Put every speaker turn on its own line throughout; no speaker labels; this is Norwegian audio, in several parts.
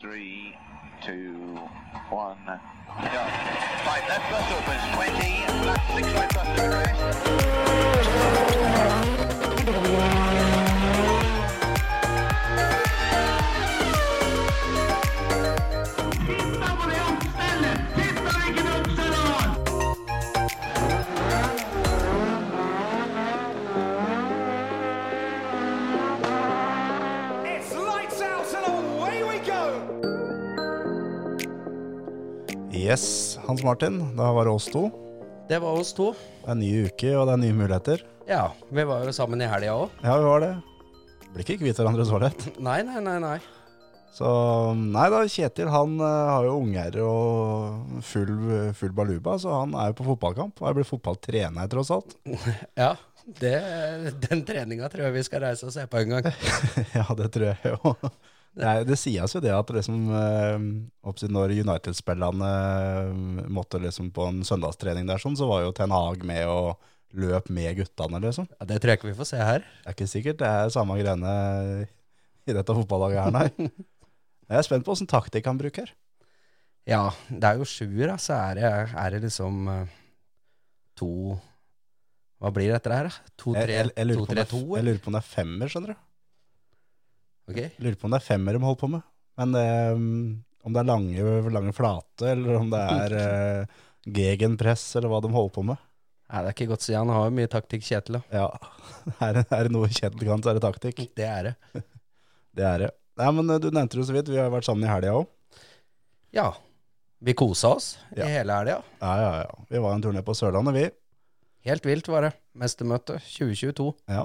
Three, two, one, go. Five left bus opens, 20, left six right bus to crest.
It's lights out and away we go!
Yes, Hans Martin. Da var det oss to.
Det var oss to.
Det er en ny uke, og det er nye muligheter.
Ja, vi var jo sammen i helga òg.
Ja, vi var det. Blir ikke kvitt hverandre så lett.
Nei, nei, nei, nei.
Så nei da, Kjetil han eh, har jo unger og full, full baluba, så han er jo på fotballkamp. Og er blitt fotballtrener, tross alt.
Ja, det, den treninga tror jeg vi skal reise og se på en gang.
ja, det tror jeg jo. Nei, det sies jo det at liksom, eh, oppsett når United-spillerne eh, måtte liksom på en søndagstrening der, sånn, så var jo Ten Hag med og løp med guttene, liksom.
Ja, det tror jeg ikke vi får se her.
Det er ikke sikkert det er samme greiene i dette fotballaget her, nei. Jeg er spent på åssen taktikk han bruker.
Ja, det er jo sjuer, da, så er det, er det liksom eh, to Hva blir dette her, da?
Jeg, jeg, jeg, lurer på om det, er-
2-3-2?
jeg lurer på om det er femmer, skjønner du.
Ok.
Jeg lurer på om det er femmer de holder på med. Men eh, om det er lange, lange flate, eller om det er eh, gegenpress, eller hva de holder på med.
Nei, det er ikke godt å si. Han har jo mye taktikk, Kjetil. da.
Ja, er, det- er det noe Kjetil kan, så er det taktikk.
Det er det.
Det er det. Nei, men eh, Du nevnte det jo så vidt, vi har jo vært sammen i helga òg.
Ja. Vi kosa oss
Ja.
i hele helga.
Ja, ja, ja. Vi var en turné på Sørlandet, vi.
Helt vilt var det. Mestermøte 2022.
Ja.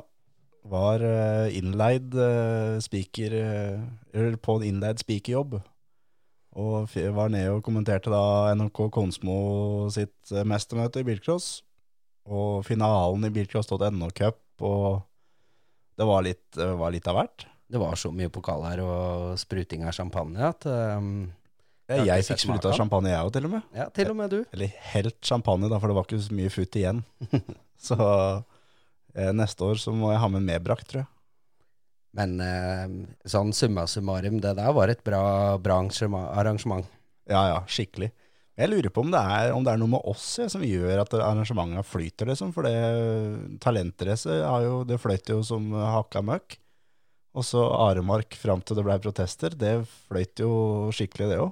Var eh, innleid eh, speaker eh, Eller på en innleid speakerjobb. Og f var nede og kommenterte da NRK Konsmo sitt eh, mestermøte i bilcross. Og finalen i bilcross.no Cup, og det var litt, eh, var litt av hvert.
Det var så mye pokaler og spruting av champagne at eh, Jeg har
Jeg,
ikke
fikk
sett
spruta
maken.
champagne, jeg òg, til og med.
Ja, til og med du.
Eller helt champagne, da, for det var ikke så mye futt igjen. så eh, neste år så må jeg ha med medbrakt, tror jeg.
Men eh, sånn summa summarum, det der var et bra, bra arrangema- arrangement.
Ja, ja, skikkelig. Jeg lurer på om det er, om det er noe med oss jeg, som gjør at arrangementene flyter, liksom. For det talentrace har jo, det fløyt jo som hakka møkk. Og så Aremark fram til det blei protester, det fløyt jo skikkelig, det òg.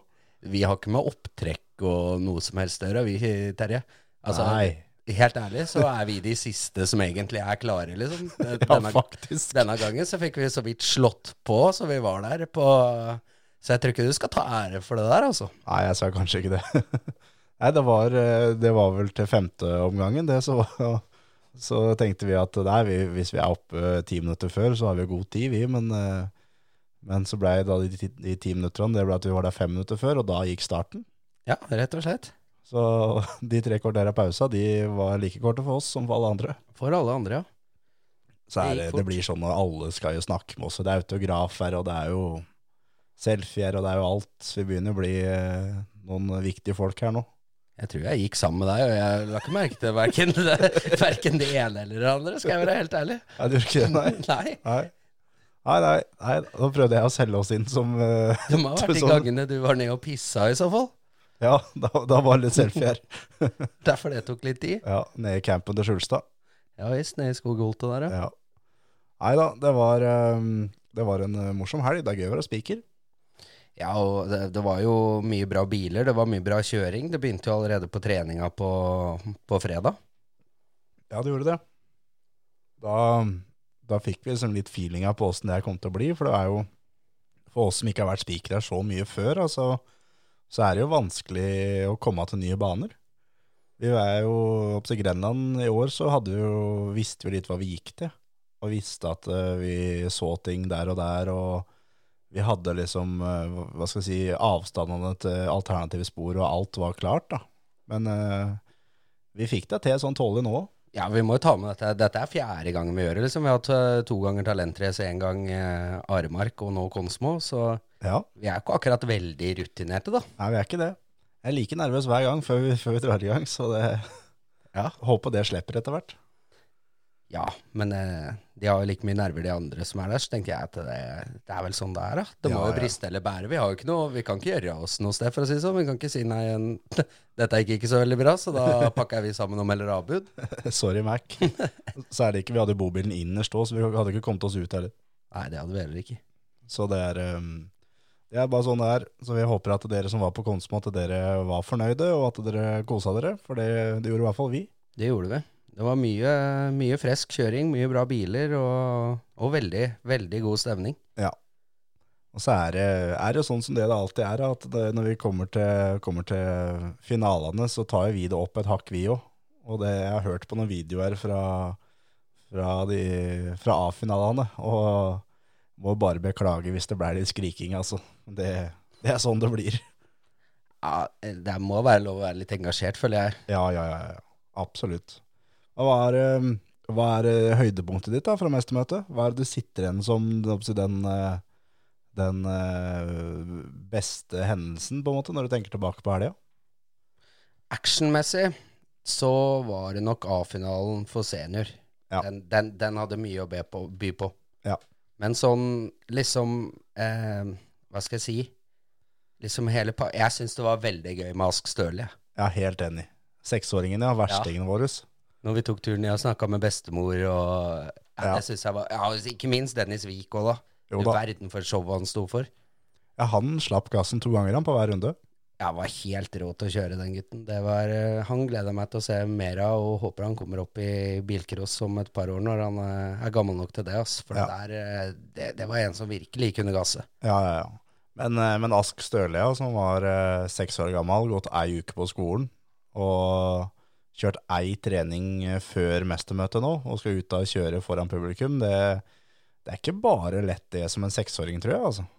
Vi har ikke med opptrekk og noe som helst å gjøre, vi, Terje. Altså,
Nei.
Helt ærlig så er vi de siste som egentlig er klare, liksom.
Ja,
Denne,
faktisk.
denne gangen så fikk vi så vidt slått på, så vi var der på Så jeg tror ikke du skal ta ære for det der, altså.
Nei, jeg sa kanskje ikke det. Nei, det var, eh, det var vel til femte omgangen, det. Så, så tenkte vi at nei, vi, hvis vi er oppe ti minutter før, så har vi jo god tid, vi. Men, eh, men så blei da de, ti- de ti minuttene, det ble at vi var der fem minutter før, og da gikk starten.
Ja, rett og slett.
Så de tre kvartera pausa, de var like korte for oss som for alle andre.
For alle andre, ja.
Så er det,
Det gikk
det
fort.
blir sånn at alle skal jo snakke med oss, og det er autograf her, og det er jo selfie her, og det er jo alt. Så vi begynner å bli eh, noen viktige folk her nå.
Jeg tror jeg gikk sammen med deg, og jeg la ikke merke til verken det, hverken det ene eller det andre, skal jeg være helt ærlig.
Nei, du gjør ikke det, nei?
Nei.
Nei. Nei, nei, nei, da prøvde jeg å selge oss inn som eh,
Det må ha vært de
Sånn.
gangene du var nede og pissa, i så fall.
Ja, da, da var det litt selfie her.
Derfor det tok litt tid.
Ja, nede i campen til Skjulstad.
Ja visst, nede i skogholtet der, ja.
Ja. Nei da, det var, eh, det var en eh, morsom helg. Det er gøy å være spiker.
Ja, og det, det var jo mye bra biler, det var mye bra kjøring. Det begynte jo allerede på treninga på, på fredag.
Ja, det gjorde det. Da, da fikk vi liksom litt feelinga på åssen det her kom til å bli, for det er jo For oss som ikke har vært spikere så mye før, altså, så er det jo vanskelig å komme til nye baner. Vi er jo opp til Grenland i år, så hadde vi jo, visste vi litt hva vi gikk til. Og visste at eh, vi så ting der og der, og vi hadde liksom eh, hva skal jeg si, avstandene til alternative spor, og alt var klart, da. Men eh, vi fikk det til sånn tålelig nå òg.
Ja, vi må jo ta med dette. Dette er fjerde gangen vi gjør det, liksom. Vi har hatt eh, to ganger talentrace, én gang eh, Aremark og nå Konsmo, så
Ja,
vi er ikke akkurat veldig rutinerte, da.
nei, vi er ikke det. Jeg er like nervøs hver gang før vi, før vi drar i gang, så det, håper det slipper etter hvert.
Ja, men eh, de har jo like mye nerver de andre som er der, så tenkte jeg at det, det er vel sånn det er, da. Det må
Ja,
jo
ja.
briste eller bære. Vi har jo ikke noe, vi kan ikke gjøre oss noe sted, for å si det sånn. Vi kan ikke si nei, en- dette gikk ikke så veldig bra, så da pakker vi sammen og melder avbud.
Sorry, Mac. Særlig ikke, vi hadde jo bobilen innerst òg, så vi hadde ikke kommet oss ut heller.
Nei, det hadde vi heller ikke.
Så det er, ehm, det er bare sånn det er. Så vi håper at dere som var på Konsmo, at dere var fornøyde, og at dere kosa dere. For det, det gjorde i hvert fall vi.
Det gjorde vi. Det var mye, mye fresk kjøring, mye bra biler og, og veldig, veldig god stemning.
Og så er det, er det jo sånn som det det alltid er, at det, når vi kommer til, kommer til finalene, så tar jo vi det opp et hakk, vi òg. Og det jeg har hørt på noen videoer fra, fra, de- fra A-finalene, og må bare beklage hvis det ble litt skriking, altså. Det, det er sånn det blir.
Ja, det må være lov å være litt engasjert, føler jeg.
Ja, ja, ja, ja. absolutt. Og Hva er, eh, hva er eh, høydepunktet ditt da fra mestermøtet? Hva er det du sitter igjen som hva skal jeg si, den, eh, den eh, beste hendelsen, på en måte, når du tenker tilbake på helga?
Actionmessig så var det nok A-finalen for senior.
Ja.
Den, den, den hadde mye å be på, by på.
Ja.
Men sånn liksom eh, Hva skal jeg si? Liksom hele pa Jeg syns det var veldig gøy med Ask Støle. jeg.
Jeg er helt enig. Seksåringene, ja, verstingene våre.
Når vi tok turen, jeg snakka med bestemor og ja,
Ja.
det synes jeg var, ja, Ikke minst Dennis Wiik òg, da.
Jo
Du
da.
verden for showet han sto for.
Ja, han slapp gassen to ganger han på hver runde.
Jeg var helt rå til å kjøre den gutten. Det var, eh, han gleder jeg meg til å se mer av, og håper han kommer opp i bilcross om et par år når han eh, er gammel nok til det. Ass. For
Ja.
det, der, eh, det, det var en som virkelig kunne gasse.
Ja, ja, ja. Men, eh, men Ask Støle, ja, som var eh, seks år gammel, gått ei uke på skolen, og kjørt ei trening eh, før mestermøtet nå, og skal ut og kjøre foran publikum, det, det er ikke bare lett det som en seksåring, tror jeg, altså.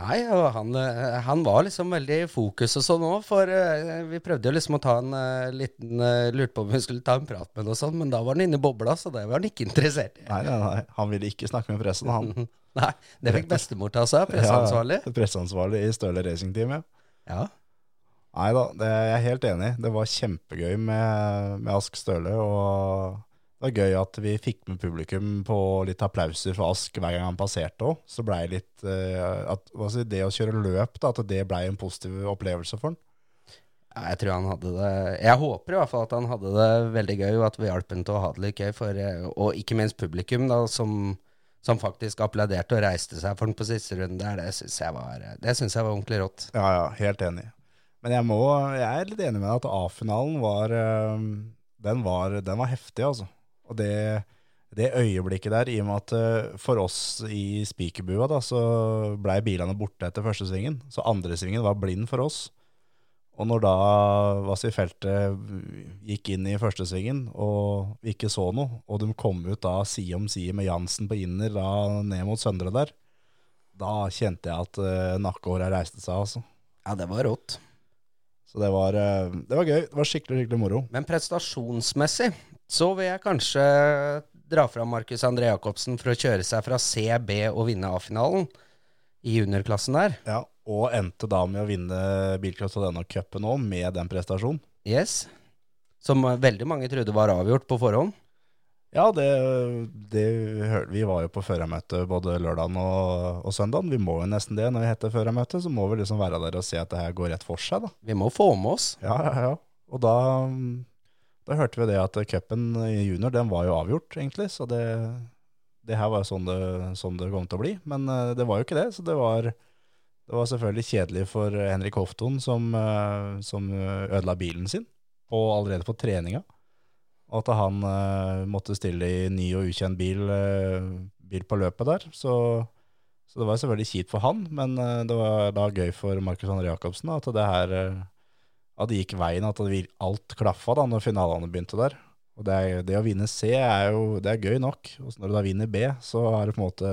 Nei, og han, eh, han var liksom veldig i fokus og sånn òg, for eh, vi prøvde jo liksom å ta en eh, liten eh, Lurte på om vi skulle ta en prat med ham og sånn, men da var han inne i bobla, så det var han ikke interessert i.
Nei, nei, nei, han ville ikke snakke med pressen, Sånn han.
Nei, det fikk bestemor ta seg av, presseansvarlig.
Ja, presseansvarlig i Støle Racing Team, ja.
Ja.
Nei da, det, jeg er helt enig. Det var kjempegøy med, med Ask Støle, og det var gøy at vi fikk med publikum på litt applauser for Ask hver gang han passerte òg. Så blei litt eh, at, hva skal jeg si, Det å kjøre løp, da, at det blei en positiv opplevelse for han.
Ja, jeg tror han hadde det Jeg håper i hvert fall at han hadde det veldig gøy, og at vi hjalp han til å ha det litt gøy. For, eh, og ikke minst publikum, da, som, som faktisk applauderte og reiste seg for den på siste runde. der, Det syns jeg, var- eh, det synes jeg var ordentlig rått.
Ja, ja, helt enig. Men jeg, må, jeg er litt enig med deg at A-finalen var, eh, den var Den var heftig, altså. Og det, det øyeblikket der, i og med at eh, for oss i spikerbua, da, så blei bilene borte etter første svingen. Så andre svingen var blind for oss. Og når da Wasi-feltet gikk inn i første svingen, og vi ikke så noe, og de kom ut da side om side med Jansen på inner, da ned mot Søndre der, da kjente jeg at uh, nakkehåra reiste seg, altså.
Ja, det var rått.
Så det var, eh, det var gøy. Det var skikkelig, skikkelig moro.
Men prestasjonsmessig så vil jeg kanskje dra fram Markus André Jacobsen for å kjøre seg fra CB og vinne A-finalen i juniorklassen der.
Ja, og endte da med å vinne Bilcross Arena-cupen òg, med den prestasjonen.
Yes. Som eh, veldig mange trodde var avgjort på forhånd.
Ja, det, det hørte vi. var jo på førermøte både lørdagen og, og søndagen. Vi må jo nesten det når vi heter førermøte, så må vi liksom være der og se at det her går rett for seg, da.
Vi må få med oss.
Ja, ja, ja. Og da, mm, da hørte vi det at cupen i junior, den var jo avgjort, egentlig. Så det, det her var jo sånn det, sånn det kom til å bli. Men eh, det var jo ikke det. Så det var, det var selvfølgelig kjedelig for Henrik Hofton, som, eh, som ødela bilen sin på, allerede på treninga. Og at han eh, måtte stille i ny og ukjent bil, eh, bil på løpet der. Så, så det var selvfølgelig kjipt for han, men eh, det var da gøy for Markus André Jacobsen da, at det her eh, at det gikk veien, at det vir- alt klaffa da når finalene begynte der. Og det, er, det å vinne C er jo det er gøy nok. Og så når du da vinner B, så er det på en måte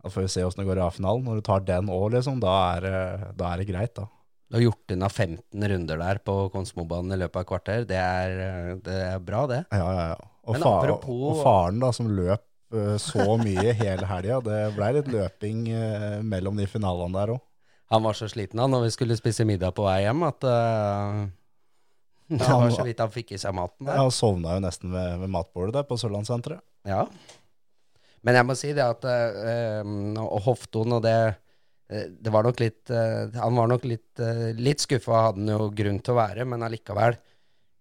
Da får vi se åssen det går i A-finalen. Når du tar den òg, liksom, da er, det- da er det greit, da.
Du har gjort unna 15 runder der på Konsmobanen i løpet av et kvarter. Det er, eh, det er bra, det.
Ja, ja, ja. Og,
Men
fa
apropos-
og faren da, som løp eh, så mye hele helga, det blei litt løping eh, mellom de finalene der òg.
Han var så sliten da når vi skulle spise middag på vei hjem, at eh, Det var så vidt han fikk i seg maten der.
Jeg sovna jo nesten ved, ved matbordet der på Sørlandssenteret.
Ja. Men jeg må si det at eh, um, og Hofton og det eh, det var nok litt, eh, Han var nok litt, eh, litt skuffa, hadde han jo grunn til å være, men allikevel.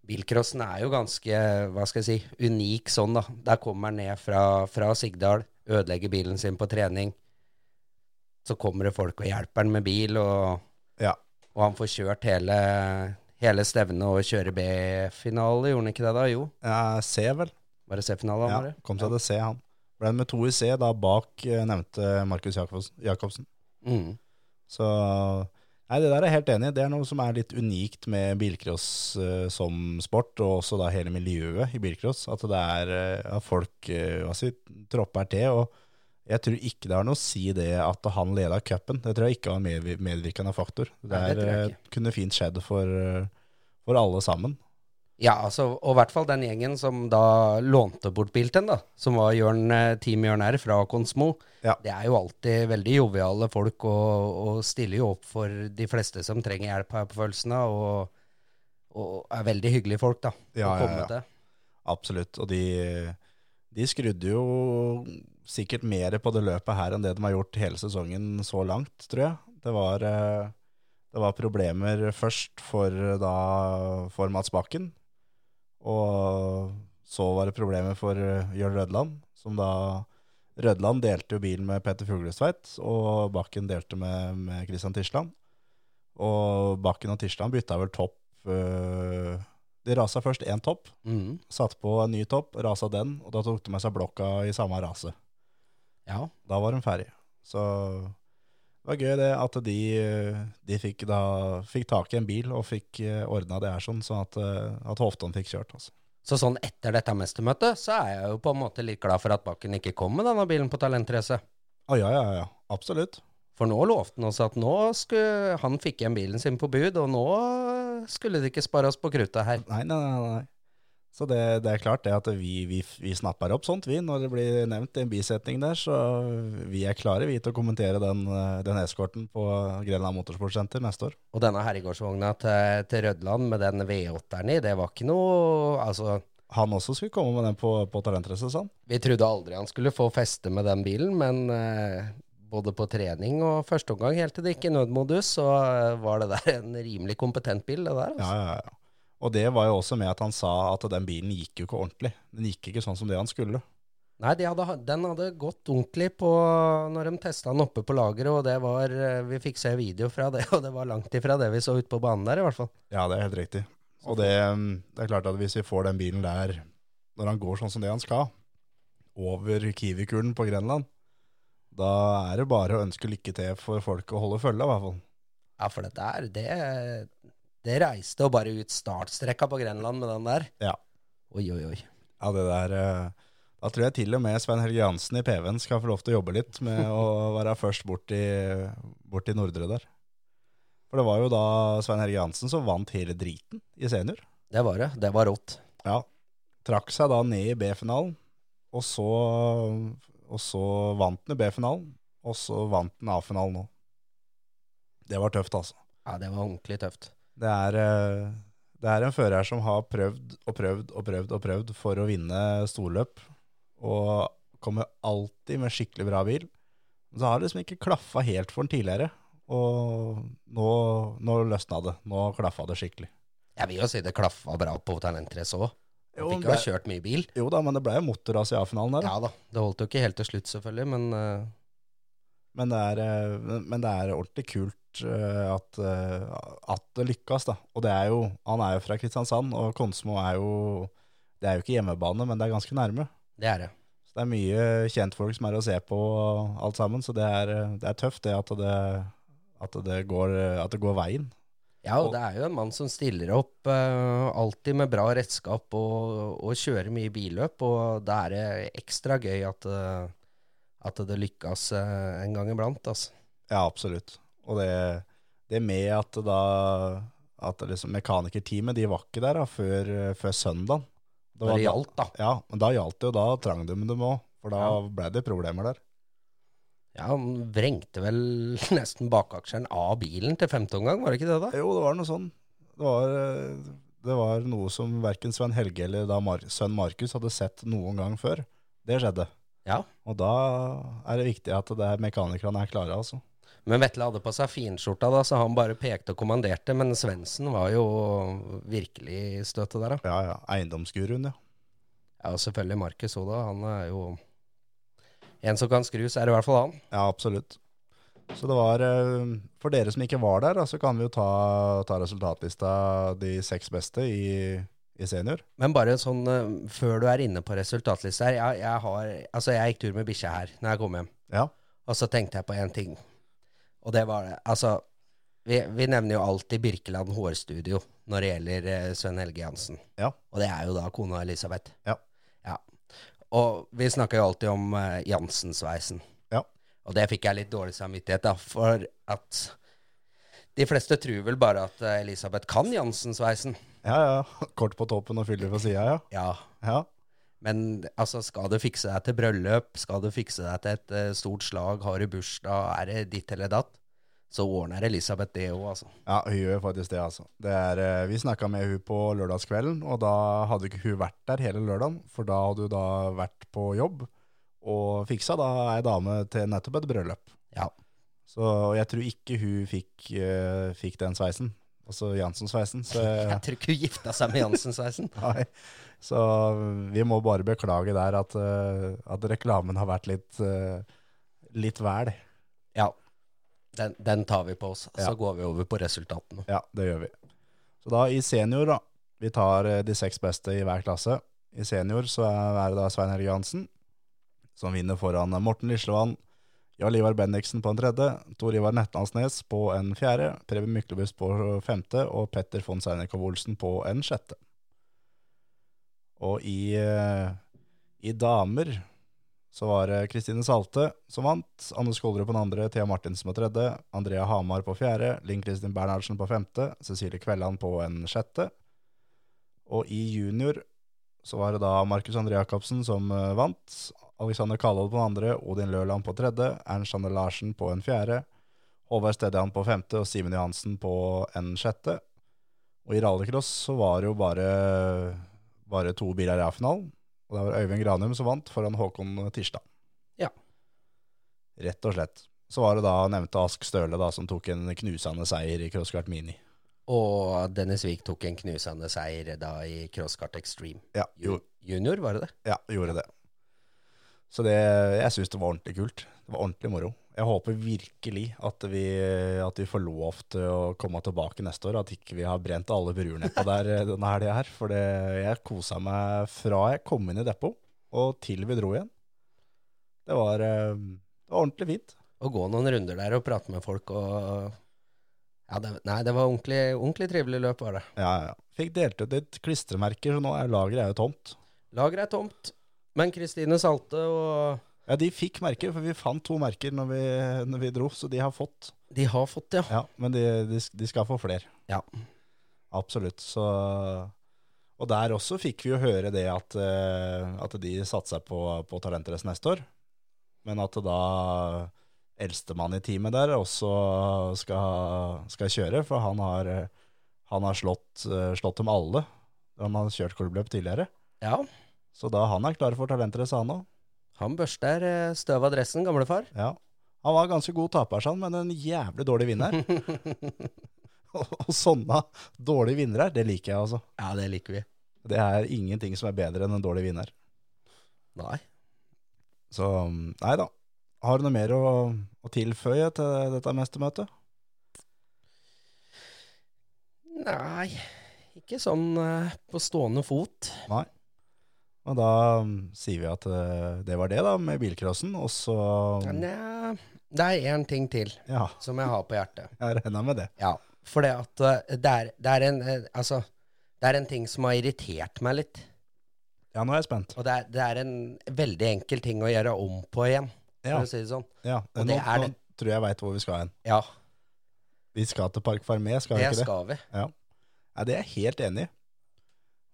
Bilcrossen er jo ganske hva skal jeg si, unik sånn, da. Der kommer han ned fra, fra Sigdal, ødelegger bilen sin på trening. Så kommer det folk og hjelper han med bil, og,
Ja.
og han får kjørt hele, hele stevnet og kjører B-finale, gjorde han ikke det da? Jo,
Jeg ser vel.
var det C-finale han
Ja,
var i?
kom seg til C, han. Ble med to i C da bak eh, nevnte Markus Jakobsen. Jakobsen.
Mm.
Så Nei, det der er jeg helt enig i. Det er noe som er litt unikt med bilcross eh, som sport, og også da hele miljøet i bilcross. At det er eh, at folk eh, hva skal vi si, tropper til. Og jeg tror ikke det har noe å si det at han leda cupen. Det tror jeg ikke var en medvi- medvirkende faktor. Det,
Nei, det
er,
tror jeg
eh, kunne fint skjedd for, eh, for alle sammen.
Ja, altså, og i hvert fall den gjengen som da lånte bort Bilten, da, som var Jørn, eh, Team Jørn R fra Konsmo.
Ja.
Det er jo alltid veldig joviale folk, og, og stiller jo opp for de fleste som trenger hjelp her på følelsene, og, og er veldig hyggelige folk, da. å
Ja, ja,
komme
ja.
til.
Absolutt. Og de, de skrudde jo sikkert mer på det løpet her enn det de har gjort hele sesongen så langt, tror jeg. Det var, eh, det var problemer først for, eh, da, for Mats Bakken, og så var det problemer for eh, Jørn Rødland, som da Rødland delte jo bil med Petter Fuglestveit, og Bakken delte med, med Christian Tisland. Og Bakken og Tisland bytta vel topp eh, De rasa først én topp,
Mm,
Satt på en ny topp, rasa den, og da tok de med seg blokka i samme rase.
ja.
Da var de ferdig. Så det var gøy det at de, eh, de fikk, da, fikk tak i en bil og fikk ordna det her sånn, sånn at, eh, at Hofton fikk kjørt. Altså.
Så sånn etter dette mestermøtet, så er jeg jo på en måte litt glad for at Bakken ikke kom med denne bilen på talentrace.
Å ja, ja, ja. Absolutt.
For nå lovte han også at nå skulle han fikk igjen bilen sin på bud, og nå skulle det ikke spares på kruttet her.
Nei, nei, nei. nei. Så det, det er klart det at vi, vi, vi snapper opp sånt, vi, når det blir nevnt i en bisetning der. Så vi er klare, vi, til å kommentere den, eh, den eskorten på Grenland Motorsportsenter neste år.
Og denne herregårdsvogna til, til Rødland med den V8-eren i, det var ikke noe Altså,
Han også skulle komme med den på, på talentrace, sa han.
vi trodde aldri han skulle få feste med den bilen, men eh, både på trening og første omgang, helt til det gikk i nødmodus, så eh, var det der en rimelig kompetent bil, det der.
Ja,
Altså.
ja, ja. Og det var jo også med at han sa at den bilen gikk jo ikke ordentlig. Den gikk ikke sånn som det han skulle.
Nei, de hadde, den hadde gått ordentlig på når de testa den oppe på lageret, og det var eh, Vi fikk se video fra det, og det var langt ifra det vi så ute på banen der, i hvert fall.
Ja, det er helt riktig. Og det, mm, det er klart at hvis vi får den bilen der, når han går sånn som det han skal, over Kiwikulen på Grenland, da er det bare å ønske lykke til for folk å holde følge, i hvert fall.
Ja, for det der, det, det reiste og bare ut startstrekka på Grenland med den der.
Ja.
Oi, oi, oi.
Ja, det der eh, Da tror jeg til og med Svein Helge Hansen i PV-en skal få lov til å jobbe litt med å være først bort i, bort i Nordre der. For det var jo da Svein Helge Hansen som vant hele driten i senior.
Det var det. Det var rått.
Ja. Trakk seg da ned i B-finalen, og så, og så vant han i B-finalen, og så vant han A-finalen nå. Det var tøft, altså.
Ja, det var ordentlig tøft.
Det er, eh, det er en fører som har prøvd og prøvd og prøvd og prøvd for å vinne storløp, og kommer alltid med skikkelig bra bil. Men så har det liksom ikke klaffa helt for den tidligere, og nå, nå løsna det. Nå klaffa det skikkelig.
Jeg vil jo si det klaffa bra på talentrace òg.
Jo,
Fikk
det
jo
er-
kjørt mye bil.
Jo da, men det ble jo motorras i A-finalen der. da.
Ja da. Det holdt jo ikke helt til slutt, selvfølgelig, men eh,
Men, det er, eh, men- men det er ordentlig kult eh, at, eh, at det lykkes, da. Og det er jo, han er jo fra Kristiansand, og Konsmo er jo Det er jo ikke hjemmebane, men det er ganske nærme.
det er det.
Så det er mye kjentfolk som er å se på og alt sammen, så det er, det er tøft det at det, at, det går, at det går veien.
Ja, og
Og-
det er jo en mann som stiller opp eh, alltid med bra redskap og, og kjører mye billøp, og da er det ekstra gøy at, eh, at det lykkes eh, en gang iblant, altså.
Ja, absolutt. Og det, det med at da at liksom mekanikerteamet de var ikke der da, før, før søndagen. Det
Når
var
det
da-
gjaldt, da.
Ja, men da gjaldt det jo, da trang de dem òg, for da
Ja.
ble det problemer der.
Ja, han vrengte vel nesten bakaksjeren av bilen til femte omgang, var det ikke det da?
Jo, det var noe sånn. Det var, eh, Det var noe som verken Sven Helge eller da Mar sønn Markus hadde sett noen gang før. Det skjedde.
Ja.
Og da er det viktig at det er mekanikerne er klare, altså.
Men Vetle hadde på seg finskjorta, da, så han bare pekte og kommanderte. Men Svendsen var jo virkelig i støtet der, da.
Ja, ja. Eiendomsguruen, ja.
Ja, og selvfølgelig Markus òg, da. Han er jo En som kan skrus, er i hvert fall han.
Ja, absolutt. Så det var eh, For dere som ikke var der, da, så kan vi jo ta, ta resultatlista de seks beste i, i senior.
Men bare sånn eh, før du er inne på resultatlista her jeg, jeg, har, altså jeg gikk tur med bikkja her når jeg kom hjem,
Ja.
og så tenkte jeg på én ting. Og det var det. Altså, vi, vi nevner jo alltid Birkeland hårstudio når det gjelder eh, Sven Helge Jansen.
Ja.
Og det er jo da kona Elisabeth.
Ja.
ja. Og vi snakker jo alltid om eh, Jansen-sveisen.
Ja.
Og det fikk jeg litt dårlig samvittighet da, for at de fleste tror vel bare at eh, Elisabeth kan Jansen-sveisen.
Ja, ja. Kort på toppen og fyller på sida, ja.
Ja,
ja.
Men altså, skal du fikse deg til bryllup, skal du fikse deg til et eh, stort slag, har du bursdag, er det ditt eller datt, så ordner Elisabeth det òg, altså.
Ja, hun gjør faktisk det, altså. Det er, eh, vi snakka med hun på lørdagskvelden, og da hadde ikke hun vært der hele lørdagen, for da hadde hun da vært på jobb og fiksa da ei dame til nettopp et bryllup.
Ja.
Så og jeg tror ikke hun fikk, eh, fikk den sveisen, altså Jansen-sveisen. Så,
Jeg tror ikke hun gifta seg med Jansen-sveisen.
nei. så mm, vi må bare beklage der at, eh, at reklamen har vært litt, eh, litt vel.
Ja. Den, den tar vi på oss. Så
Ja.
går vi over på resultatene.
Ja, det gjør vi. Så da i senior, da. Vi tar eh, de seks beste i hver klasse. I senior så er det da Svein Helge Hansen, som vinner foran Morten Lislevann, Jarl Ivar Bendiksen på en tredje, Tor Ivar Netlandsnes på en fjerde, Preben Myklebust på femte og Petter von Seinerkov Olsen på en sjette. Og i, eh, i damer så var det Kristine Salte som vant, Anne Skålerud på den andre, Thea Martinsen på tredje, Andrea Hamar på fjerde, Linn Kristin Bernhardsen på femte, Cecilie Kvelland på en sjette. Og i junior så var det da Markus André Jacobsen som eh, vant, Alexander Kallhold på den andre, Odin Løland på tredje, Ernst Anne Larsen på en fjerde, Håvard Stedjan på femte og Simen Johansen på en sjette. Og i rallycross så var det jo bare, bare to biler i A-finalen. Og det var Øyvind Granum som vant foran Håkon Tirsdag.
Ja.
Rett og slett. Så var det da nevnte Ask Støle da, som tok en knusende seier i crosskart mini.
Og Dennis Wiik tok en knusende seier da i Crosskart Extreme.
Ja,
Ju-
jo,
Junior, var det det?
ja gjorde det. Så det, jeg syns det var ordentlig kult. Det var ordentlig moro. Jeg håper virkelig at vi, at vi får lov til å komme tilbake neste år. At ikke vi har brent alle bruer nedpå der denne helga her. For det, jeg kosa meg fra jeg kom inn i depot og til vi dro igjen. Det var, eh, det var ordentlig fint.
Å gå noen runder der og prate med folk og ja, det, Nei, det var ordentlig, ordentlig trivelig løp, var det.
Ja, ja. Fikk delt ut litt klistremerker, så nå er lageret er jo tomt.
Lageret er tomt, men Kristine Salte og
Ja, de fikk merker, for vi fant to merker når vi, når vi dro, så de har fått.
De har fått, ja.
Ja, men de, de, de skal få flere.
Ja.
Absolutt. Så, og der også fikk vi jo høre det at, eh, at de satser på, på Talentrace neste år. Men at da eldstemann i teamet der også skal, skal kjøre, for han har, eh, han har slått, eh, slått dem alle. Han har kjørt klubbløp tidligere.
ja.
Så da han er klar for talentrace, han òg.
Han børster eh, støv av dressen, gamlefar.
Ja. Han var en ganske god taper, sa han, men en jævlig dårlig vinner. og, og sånne dårlige vinnere, det liker jeg, altså.
Ja, det liker vi.
Det er ingenting som er bedre enn en dårlig vinner.
Nei.
Så mm, nei da. Har du noe mer å, å tilføye til dette mestermøtet?
Nei, ikke sånn eh, på stående fot.
Nei. Og da mm, sier vi at eh, det var det, da, med bilcrossen, og så Sånn. mm,
Nei, eh, det er én ting til
Ja,
som jeg har på hjertet.
jeg regna med det.
Ja, for det at eh, det er, det er en eh, Altså, det er en ting som har irritert meg litt.
Ja, nå er jeg spent.
Og det er, det er en veldig enkel ting å gjøre om på igjen, for
Ja,
å si det sånn.
ja.
og
Nå,
det er
nå
det.
tror jeg veit hvor vi skal hen.
Ja,
Vi skal til Park Farmé, skal vi
det
ikke det?
skal vi.
Nei, det er jeg helt enig i.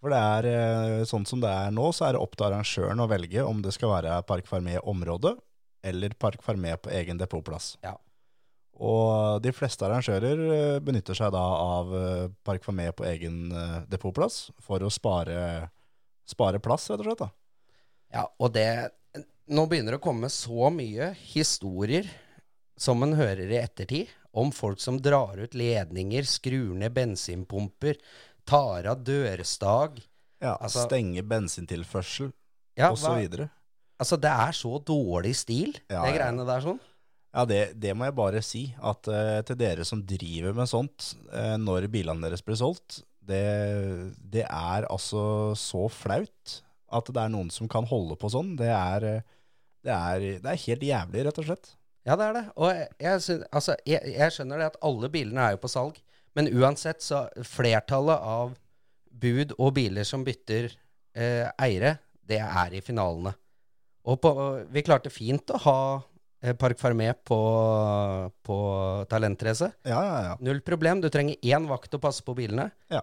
For det er eh, sånn som det er nå, så er det opp til arrangøren å velge om det skal være Park Farmé-område eller Park Farmé på egen depotplass.
Ja.
Og de fleste arrangører eh, benytter seg da av eh, Park for meg på egen eh, depotplass for å spare, spare plass, rett og slett. da.
Ja, og det Nå begynner det å komme så mye historier som en hører i ettertid, om folk som drar ut ledninger, skrur ned bensinpumper, tar av dørstag
Ja,
Altså-
Stenge bensintilførsel
ja,
og osv.
hva-
videre.
Altså, det er så dårlig stil,
Ja,
det
ja.
greiene der sånn.
Ja, det, det må jeg bare si. At eh, til dere som driver med sånt, eh, når bilene deres blir solgt, det, det er altså så flaut at det er noen som kan holde på sånn. Det er, eh, det er, det er helt jævlig, rett og slett.
Ja, det er det. Og jeg, jeg, syn- altså, jeg, jeg skjønner det at alle bilene er jo på salg, men uansett så flertallet av bud og biler som bytter eh, eiere, det er i finalene. Og på, vi klarte fint å ha eh, Park Fermé på, på talentrace.
Ja, ja, ja.
Null problem, du trenger én vakt å passe på bilene.
Ja.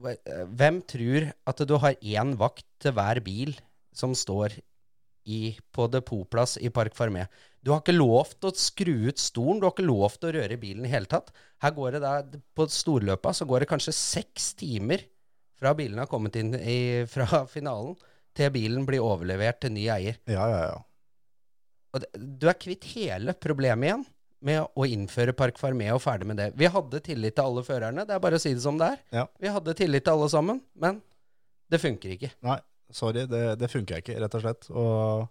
Hva- eh, Hvem tror at du har én vakt til hver bil som står i, på depotplass i Park Farmé? Du har ikke lov til å skru ut stolen, du har ikke lov til å røre bilen i hele tatt. Her går det da, På storløpa så går det kanskje seks timer fra bilen har kommet inn i, fra finalen, til bilen blir overlevert til ny eier.
ja, ja, ja.
Og det, du er kvitt hele problemet igjen med å innføre Park Farmé og ferdig med det. Vi hadde tillit til alle førerne, det er bare å si det som det er.
Ja.
Vi hadde tillit til alle sammen, men det funker ikke.
Nei, sorry, det, det funker ikke, rett og slett. Og,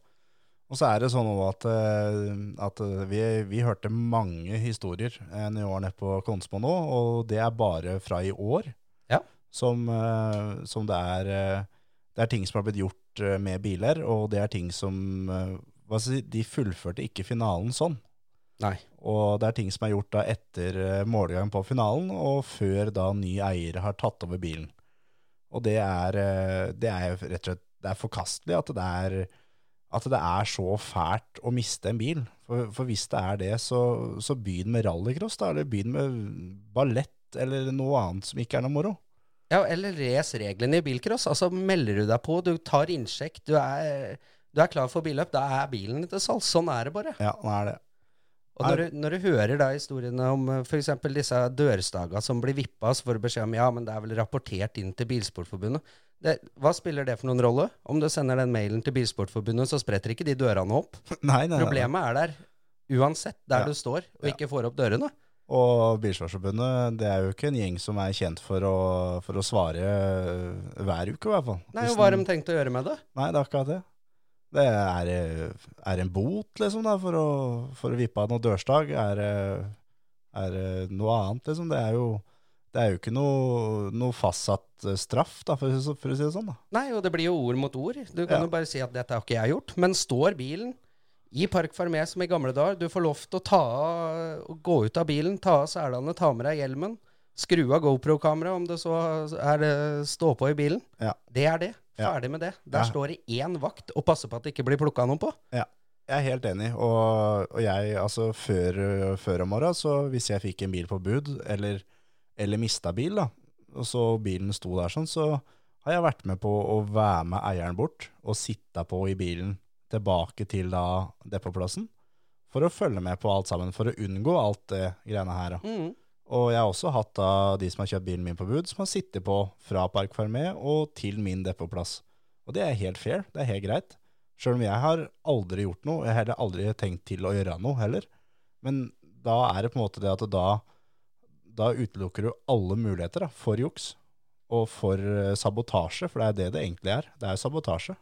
og så er det sånn også at, eh, at vi, vi hørte mange historier eh, når vi var nede på Konsmo nå, og det er bare fra i år
Ja.
som, eh, som det er eh, Det er ting som har blitt gjort eh, med biler, og det er ting som eh, hva skal jeg si, De fullførte ikke finalen sånn.
Nei.
Og det er ting som er gjort da etter eh, målgang på finalen, og før da ny eier har tatt over bilen. Og det er, eh, det er jo rett og slett det er forkastelig at det er, at det er så fælt å miste en bil. For, for hvis det er det, så, så begynn med rallycross, da, eller begynn med ballett, eller noe annet som ikke er noe moro.
Ja, eller les reglene i bilcross. Altså, melder du deg på, du tar innsjekk, du er, du er klar for billøp, da er bilen til salgs. Sånn er det bare.
Ja, nå er det.
Og når du, når du hører da historiene om f.eks. disse dørstaga som blir vippa, så får du beskjed om ja, men det er vel rapportert inn til Bilsportforbundet. Det, hva spiller det for noen rolle? Om du sender den mailen til Bilsportforbundet, så spretter ikke de dørene opp.
Nei, nei, nei, nei.
Problemet er der uansett der
Ja.
du står og
Ja.
ikke får opp dørene.
Og Bilsvarsforbundet, det er jo ikke en gjeng som er kjent for å, for å svare eh, hver uke, i hvert fall.
Nei,
Hvis
og hva har
den-
de tenkt å gjøre med det?
Nei, det er akkurat det. Det er, eh, er en bot, liksom, da, for å, for å vippe av noe dørstag. Er, eh, er eh, noe annet, liksom. Det er jo, det er jo ikke noe, noe fastsatt eh, straff, da, for, å si- for å si det sånn. da.
Nei, og det blir jo ord mot ord. Du kan
Ja.
jo bare si at dette har ikke jeg gjort. Men står bilen i Park Farmé som i gamle dager, du får lov til å ta av, å gå ut av bilen, ta av selene, ta med deg hjelmen, skru av GoPro-kameraet om det så er det stå på i bilen.
Ja.
Det er det.
Ja.
Ferdig med det. Der
Ja.
står det én vakt og passer på at det ikke blir plukka noen på.
Jeg er helt enig, og, og jeg, altså, før, eh, før om morgenen, så hvis jeg fikk en bil på bud, eller, eller mista bil, da, og så bilen sto der sånn, så har jeg vært med på å være med eieren bort, og sitte på i bilen tilbake til da depotplassen, for å følge med på alt sammen, for å unngå alt det greiene her, da.
Mm.
Og jeg har også hatt da de som har kjøpt bilen min på bud, som har sittet på fra Park Fermé og til min depotplass. Og det er helt fair, det er helt greit. Sjøl om jeg har aldri gjort noe, jeg har heller aldri tenkt til å gjøre noe heller. Men da er det på en måte det at da, da utelukker du alle muligheter da, for juks. Og for eh, sabotasje, for det er det det egentlig er. Det er jo sabotasje.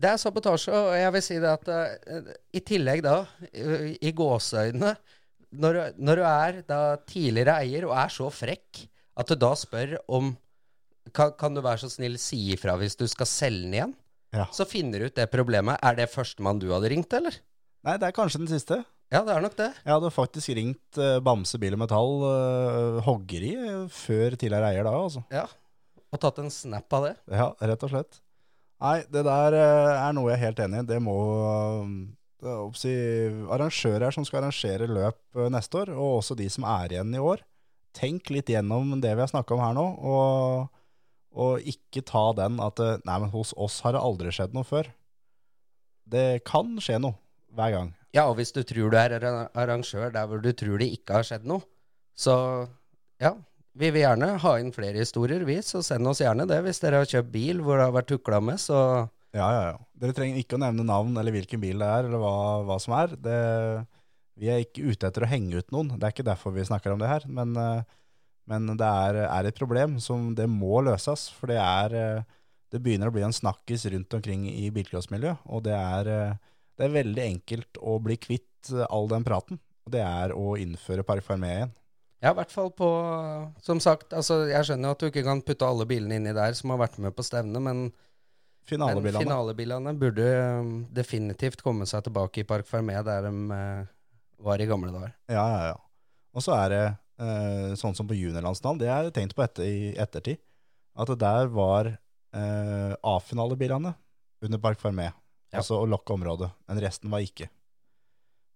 Det er sabotasje, og jeg vil si det at eh, i tillegg da, eh, i gåseøynene, når, du- når du er da tidligere eier og er så frekk at du da spør om kan, kan du være så snill si ifra hvis du skal selge den igjen,
Ja.
så finner du ut det problemet. Er det førstemann du hadde ringt, eller?
Nei, det er kanskje den siste.
Ja, det er nok det.
Jeg hadde faktisk ringt eh, Bamse Bil og Metall eh, hoggeri eh, før tidligere eier da, altså.
Ja. Og tatt en snap av det.
Ja, rett og slett. Nei, det der eh, er noe jeg er helt enig i. Det må eh, det er oppsi, arrangører som skal arrangere løp eh, neste år, og også de som er igjen i år. Tenk litt gjennom det vi har snakka om her nå, og, og ikke ta den at eh, Nei, men hos oss har det aldri skjedd noe før. Det kan skje noe hver gang.
Ja, og hvis du tror du er arra- arrangør der hvor du tror det ikke har skjedd noe, så ja, vi vil gjerne ha inn flere historier, vi, så send oss gjerne det hvis dere har kjøpt bil hvor det har vært tukla med, så
Ja, ja, ja. Dere trenger ikke å nevne navn eller hvilken bil det er, eller hva, hva som er. Det, vi er ikke ute etter å henge ut noen. Det er ikke derfor vi snakker om det her. Men, eh, men det er, er et problem som det må løses, for det er eh, det begynner å bli en snakkis rundt omkring i bilcrossmiljøet, og det er, eh, det er veldig enkelt å bli kvitt eh, all den praten. Og det er å innføre parkfarmé igjen.
ja, i hvert fall på Som sagt, altså, jeg skjønner jo at du ikke kan putte alle bilene inni der som har vært med på stevnet, men, men
Finalebilene.
finalebilene burde um, definitivt komme seg tilbake i Park Fermé, der de eh, var i gamle dager.
Ja, ja, ja. Og så er det eh, sånn som på juniorlandsnavn, det har jeg tenkt på etter, i ettertid, at det der var eh, A-finalebilene under Park Fermé,
Ja.
altså å lokke området, men resten var ikke.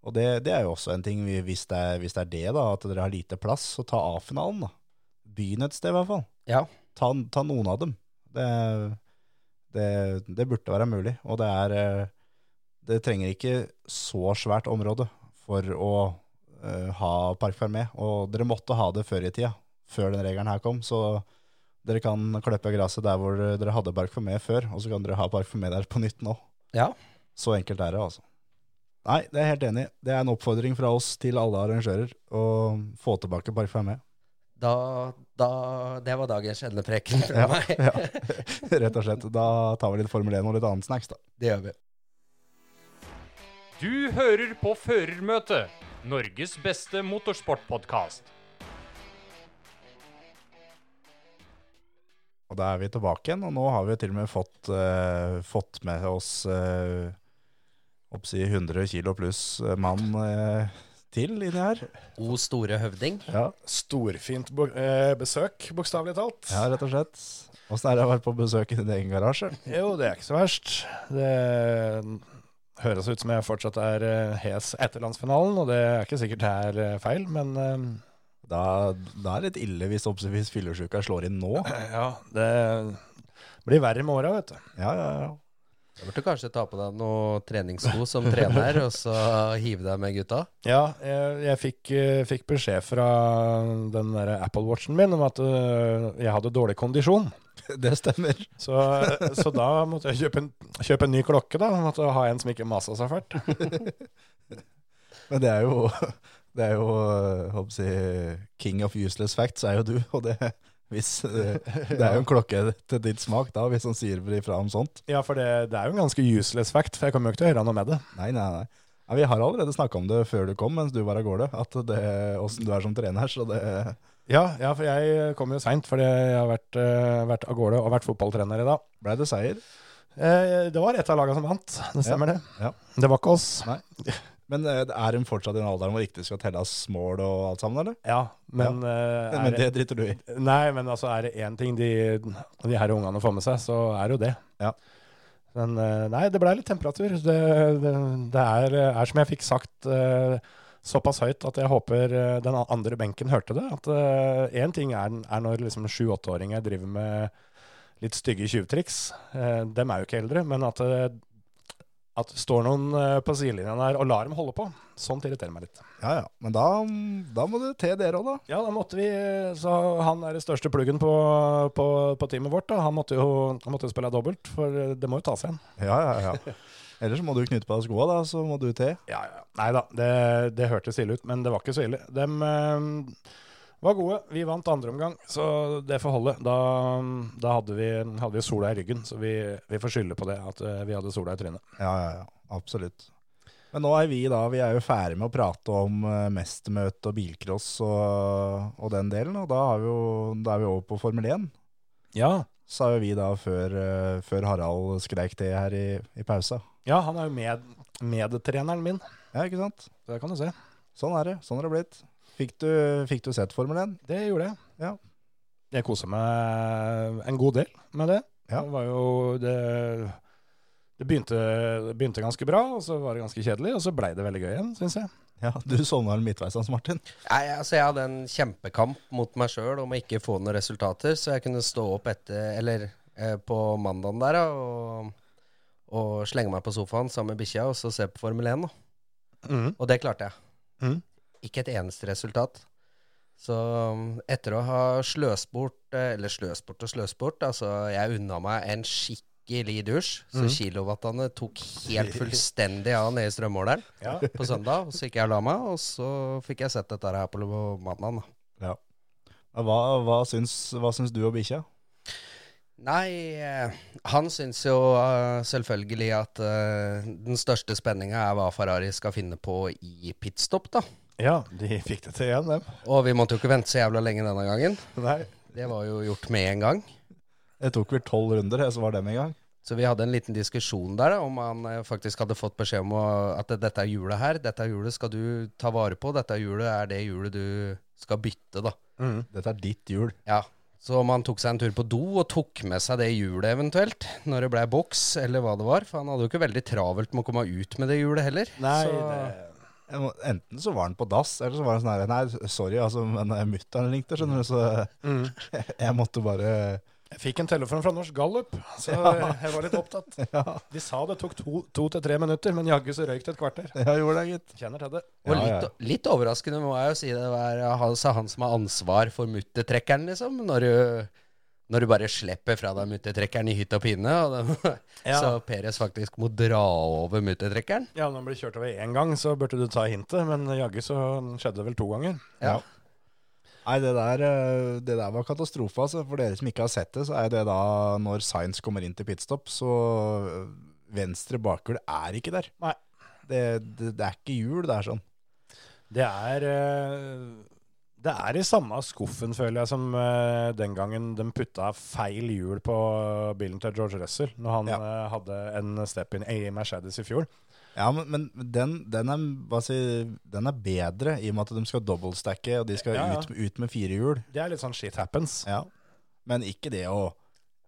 Og det, det er jo også en ting, vi- hvis det, er, hvis det er det da, at dere har lite plass, så ta A-finalen da. Begynn et sted i hvert fall.
Ja.
Ta, ta noen av dem. Det, det, det burde være mulig, og det er... eh, det trenger ikke så svært område for å eh, ha parkfermé, og dere måtte ha det før i tida, før den regelen her kom, så dere kan kløppe gresset der hvor dere hadde parkfermé før, og så kan dere ha parkfermé der på nytt nå.
Ja.
Så enkelt er det, altså. Nei, det er jeg helt enig. i. Det er en oppfordring fra oss til alle arrangører å få tilbake parkfermé.
Da, da Det var dagens skjednepreken fra
Ja,
meg.
ja. Rett og slett. Da tar vi litt Formel 1 og litt annen snacks, da.
Det gjør vi.
Du hører på Førermøtet, Norges beste motorsportpodkast.
Og da er vi tilbake igjen, og nå har vi jo til og med fått, eh, fått med oss eh, oppsi 100 kilo pluss eh, mann eh, til inni her.
O store høvding.
Ja.
Storfint bo eh, besøk, bokstavelig talt.
ja, rett og slett. Åssen er det å være på besøk i din egen garasje?
Jo, det er ikke så verst. Det høres ut som jeg fortsatt er eh, hes etter landsfinalen, og det er ikke sikkert det er eh, feil, men eh,
Da, da er det litt ille hvis, oppsi- hvis fyllesyka slår inn nå.
ja, det blir verre med åra, vet du.
Ja, ja, ja.
Da burde du kanskje ta på deg noen treningssko som trener, og så hive deg med gutta.
Ja, jeg, jeg fikk, eh, fikk beskjed fra den der Apple Watchen min om at eh, jeg hadde dårlig kondisjon.
Det stemmer.
Så, eh, så da måtte jeg kjøpe en, kjøpe en ny klokke, da. Måtte ha en som ikke masa så fælt.
Men det er jo, det er jo eh, hoppsi, king of useless facts er jo du, og det, hvis, eh, det er jo en klokke til din smak da, hvis han sier ifra om sånt.
Ja, for det, det er jo en ganske useless fact, for jeg kommer jo ikke til å gjøre noe med det.
Nei, nei, nei. Ja, vi har allerede snakka om det før du kom, mens du var av gårde. At det, åssen du er som trener, så det
Ja, ja for jeg eh, kom jo seint, fordi jeg har vært, eh, vært av gårde og vært fotballtrener i dag.
blei det seier.
Eh, det var ett av lagene som vant, det stemmer det.
ja.
Det var ikke oss.
Men eh, er hun fortsatt i den alderen hvor det ikke skal telles mål og alt sammen, eller?
Ja, men, eh,
Nei, men
er,
det driter du i.
Nei, men altså er det én ting de, de her ungene får med seg, så er det jo det.
Ja.
Men eh, nei, det blei litt temperatur. Det, det, det er, er som jeg fikk sagt eh, såpass høyt at jeg håper eh, den andre benken hørte det. At én ting er, er når liksom sju-åtteåringer driver med litt stygge tjuvtriks. Eh, dem er jo ikke eldre, men at, eh, at det står noen eh, på sidelinja der og lar dem holde på, sånt irriterer meg litt.
Ja, ja. Men da, da må det til dere òg, da.
Ja, da måtte vi Så han er det største pluggen på, på, på teamet vårt. Da. Han måtte jo han måtte jo spille dobbelt, for det må jo tas igjen.
Ja, ja, ja. Ellers må du knytte på deg skoa, da, så må du til.
Ja, ja. Nei da, det, det hørtes ille ut, men det var ikke så ille. De var gode. Vi vant andre omgang, så det får holde. Da, da hadde, vi, hadde vi sola i ryggen, så vi, vi får skylde på det at eh, vi hadde sola i trynet.
Ja, ja, ja. Absolutt. Men nå er vi da, vi er jo ferdig med å prate om eh, mestermøte og bilcross og, og den delen, og da, har vi jo, da er vi over på Formel 1.
Ja.
sa jo vi da før, eh, før Harald skreik til her i, i pausa.
ja, han er jo med, medtreneren min.
Ja, ikke sant?
Det kan du se.
Sånn er det. Sånn har det blitt. Fikk du, fikk du sett Formel 1?
Det gjorde jeg.
Ja.
Jeg kosa meg en god del med det.
Ja.
Det var jo det det begynte, det begynte ganske bra, og så var det ganske kjedelig, og så blei det veldig gøy igjen, syns jeg.
Ja, du sovna vel midtveis, Hans Martin.
Nei, altså Jeg hadde en kjempekamp mot meg sjøl om å ikke få noen resultater, så jeg kunne stå opp etter, eller eh, på mandagen der da, og, og slenge meg på sofaen sammen med bikkja og så se på Formel 1. da.
Mm.
Og det klarte jeg.
Mm.
Ikke et eneste resultat. Så um, etter å ha sløst bort, eh, eller sløst bort og sløst bort, altså jeg unna meg en skikkelig dusj, så kilowattene tok helt fullstendig av nede i strømmåleren
Ja.
på søndag, så gikk jeg og la meg, og så fikk jeg sett dette her på mandag.
Ja. Hva, hva, syns, hva syns du og bikkja?
Nei, eh, han syns jo eh, selvfølgelig at eh, den største spenninga er hva Ferrari skal finne på i pitstop, da.
ja, de fikk det til igjen, dem.
Og vi måtte jo ikke vente så jævla lenge denne gangen.
Nei.
Det var jo gjort med en gang.
Det tok vel tolv runder, jeg, så var dem i gang.
Så vi hadde en liten diskusjon der da, om han eh, faktisk hadde fått beskjed om å- at dette er hjulet her, dette hjulet skal du ta vare på, dette hjulet er det hjulet du skal bytte, da.
Mm.
Dette er ditt hjul.
Ja, så om han tok seg en tur på do og tok med seg det hjulet eventuelt, når det ble boks eller hva det var, for han hadde jo ikke veldig travelt med å komme ut med det hjulet heller.
Nei,
så,
det,
Jeg må- Enten så var han på dass, eller så var han sånn her Nei, sorry, altså, men mutter'n ringte, skjønner du, så
mm.
jeg måtte bare
Jeg fikk en telefon fra Norsk Gallup, så jeg var litt opptatt.
Ja,
De sa det tok to, to til tre minutter, men jaggu så røyk det et kvarter.
jeg gjorde det, gitt.
Kjenner til det.
Og
Ja, ja.
litt, litt overraskende må jeg jo si det var altså han som har ansvar for muttertrekkeren, liksom. Når du, når du bare slipper fra deg muttertrekkeren i hytt og pine. Og det,
Ja.
Så Peres faktisk må dra over muttertrekkeren.
Ja, når man blir kjørt over én gang, så burde du ta hintet, men jaggu så skjedde det vel to ganger.
Ja.
Ja. Nei, det der, eh, det der var katastrofe, altså. For dere som ikke har sett det, så er det da når Science kommer inn til pitstop, så eh, venstre bakhjul er ikke der.
Nei.
Det, det, det er ikke hjul, det er sånn.
Det er eh, Det er i samme skuffen, føler jeg, som eh, den gangen de putta feil hjul på bilen til George Russell, når han
Ja.
eh, hadde en step-in i Mercedes i fjor.
Ja, men, men den, den, er, hva si, den er bedre i og med at de skal dobbeltstacke, og de skal
Ja, ja.
Ut, ut med fire hjul.
Det er litt sånn shit happens.
Ja. Men ikke det å,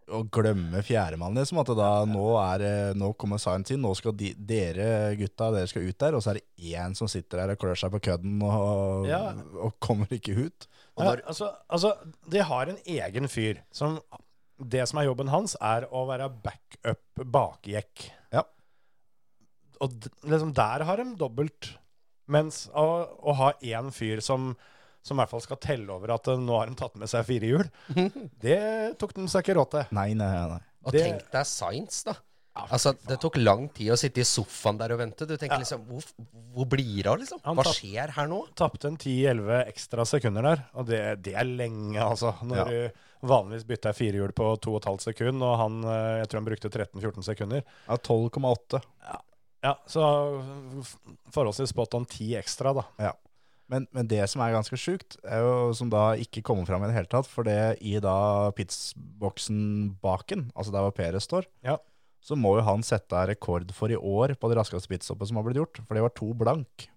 å glemme fjerdemann, liksom. At det da, nå, er, det- nå kommer science inn, nå skal de, dere gutta dere skal ut der, og så er det én som sitter der og klør seg på kødden og,
Ja.
og kommer ikke ut.
Ja, altså, altså, de har en egen fyr som Det som er jobben hans, er å være backup bakjekk.
Ja.
Og d- liksom der har de dobbelt. Mens å, å ha én fyr som, som i hvert fall skal telle over at eh, nå har de tatt med seg fire hjul, det tok de seg ikke råd til.
Nei, nei, nei.
Og
Det-
tenk deg Science, da. Altså, Det tok lang tid å sitte i sofaen der og vente. Du tenker liksom Hvor, hvor blir det av, liksom?
Han
Hva
tatt-
skjer her nå?
Tapte en 10-11 ekstra sekunder der, og det, det er lenge, altså. Når du vanligvis bytter jeg firehjul på 2,5 sekunder, og han, eh, jeg tror han brukte 13-14 sekunder.
Ja, 12,8.
Ja, så f- forholdsvis spot on ti ekstra, da.
Men, men det som er ganske sjukt, er jo som da ikke kommer fram i det hele tatt, for det i da pitsboksen baken, altså der hvor Peres står,
Ja.
så må jo han sette rekord for i år på det raskeste pitstoppet som har blitt gjort, for det var to blank.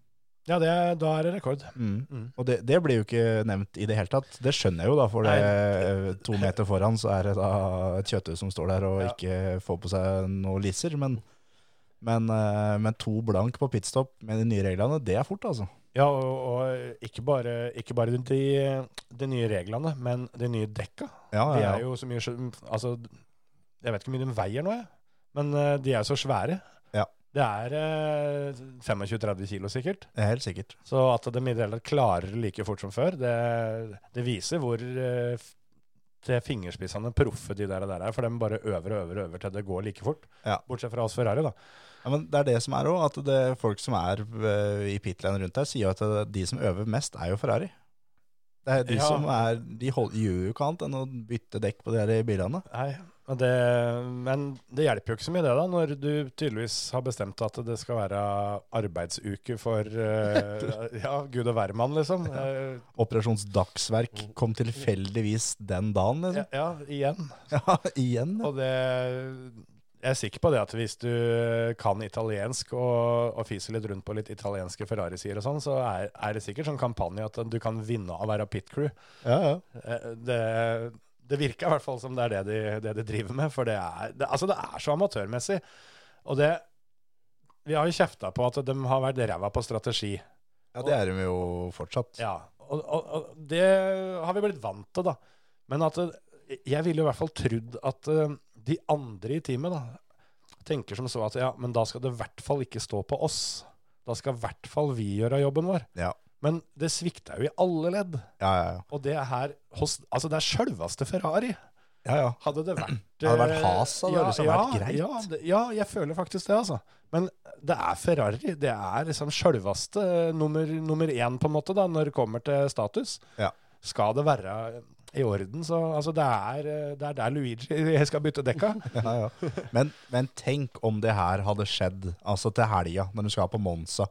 Ja, det, er- da er det rekord.
Mm.
Mm.
Og det, det blir jo ikke nevnt i det hele tatt. Det skjønner jeg jo da, for det, eh, to meter foran så er det da et kjøtthus som står der og
Ja.
ikke får på seg noe lisser, men, men, eh, men to blank på pitstop med de nye reglene, det er fort altså.
Ja, og, og ikke bare, ikke bare de, de nye reglene, men de nye dekka.
Ja,
De
ja,
er
ja.
jo så mye sjø- Altså, jeg vet ikke hvor mye de veier nå, jeg. Men eh, de er jo så svære.
Ja.
Det er eh, 25-30 kilo sikkert.
Det er helt sikkert.
Så at de i det hele tatt klarer det like fort som før, det, det viser hvor eh, f- til fingerspissene proffe de der, der er. For de bare øver og øver og øver til det går like fort.
Ja.
Bortsett fra oss Ferrari, da.
Ja, men det er det som er òg, at det, folk som er eh, i pitlane rundt her, sier jo at det- de som øver mest, er jo Ferrari. Det er de
Ja.
som er, de hold, gjør jo ikke annet enn å bytte dekk på de her bilene.
Nei, men det, men det hjelper jo ikke så mye det da, når du tydeligvis har bestemt at det skal være arbeidsuke for eh, ja, gud og hvermann, liksom. Eh,
Operasjons Dagsverk kom tilfeldigvis den dagen,
ja,
liksom.
ja, igjen.
Ja, igjen. ja.
Og det, jeg er sikker på det at hvis du kan italiensk og, og fiser litt rundt på litt italienske Ferrari-sider og sånn, så er, er det sikkert sånn kampanje at du kan vinne av å være pit crew. Eh, Det, det virker i hvert fall som det er det de, det de driver med, for det er, det, altså det er så amatørmessig. Og det Vi har jo kjefta på at de har vært ræva på strategi.
Ja, det er de jo fortsatt.
Ja, og, og, og det har vi blitt vant til, da. Men at eh, jeg ville i hvert fall trodd at eh, de andre i teamet da, tenker som så at ja, men da skal det i hvert fall ikke stå på oss. Da skal i hvert fall vi gjøre jobben vår.
Ja.
Men det svikta jo i alle ledd.
Ja, ja, ja.
Og det er her hos, Altså, det er sjølveste Ferrari.
ja, ja.
Hadde det vært
Hadde det vært
eh,
has, hadde det liksom vært greit.
Ja, det, ja, jeg føler faktisk det, altså. Men det er Ferrari. Det er liksom sjølveste nummer, nummer én, på en måte, da, når det kommer til status.
Ja.
Skal det være i orden, så Altså, det er, eh, det er der Luigi skal bytte dekka.
ja, ja. Men, men tenk om det her hadde skjedd altså til helga, når du skal på Monza.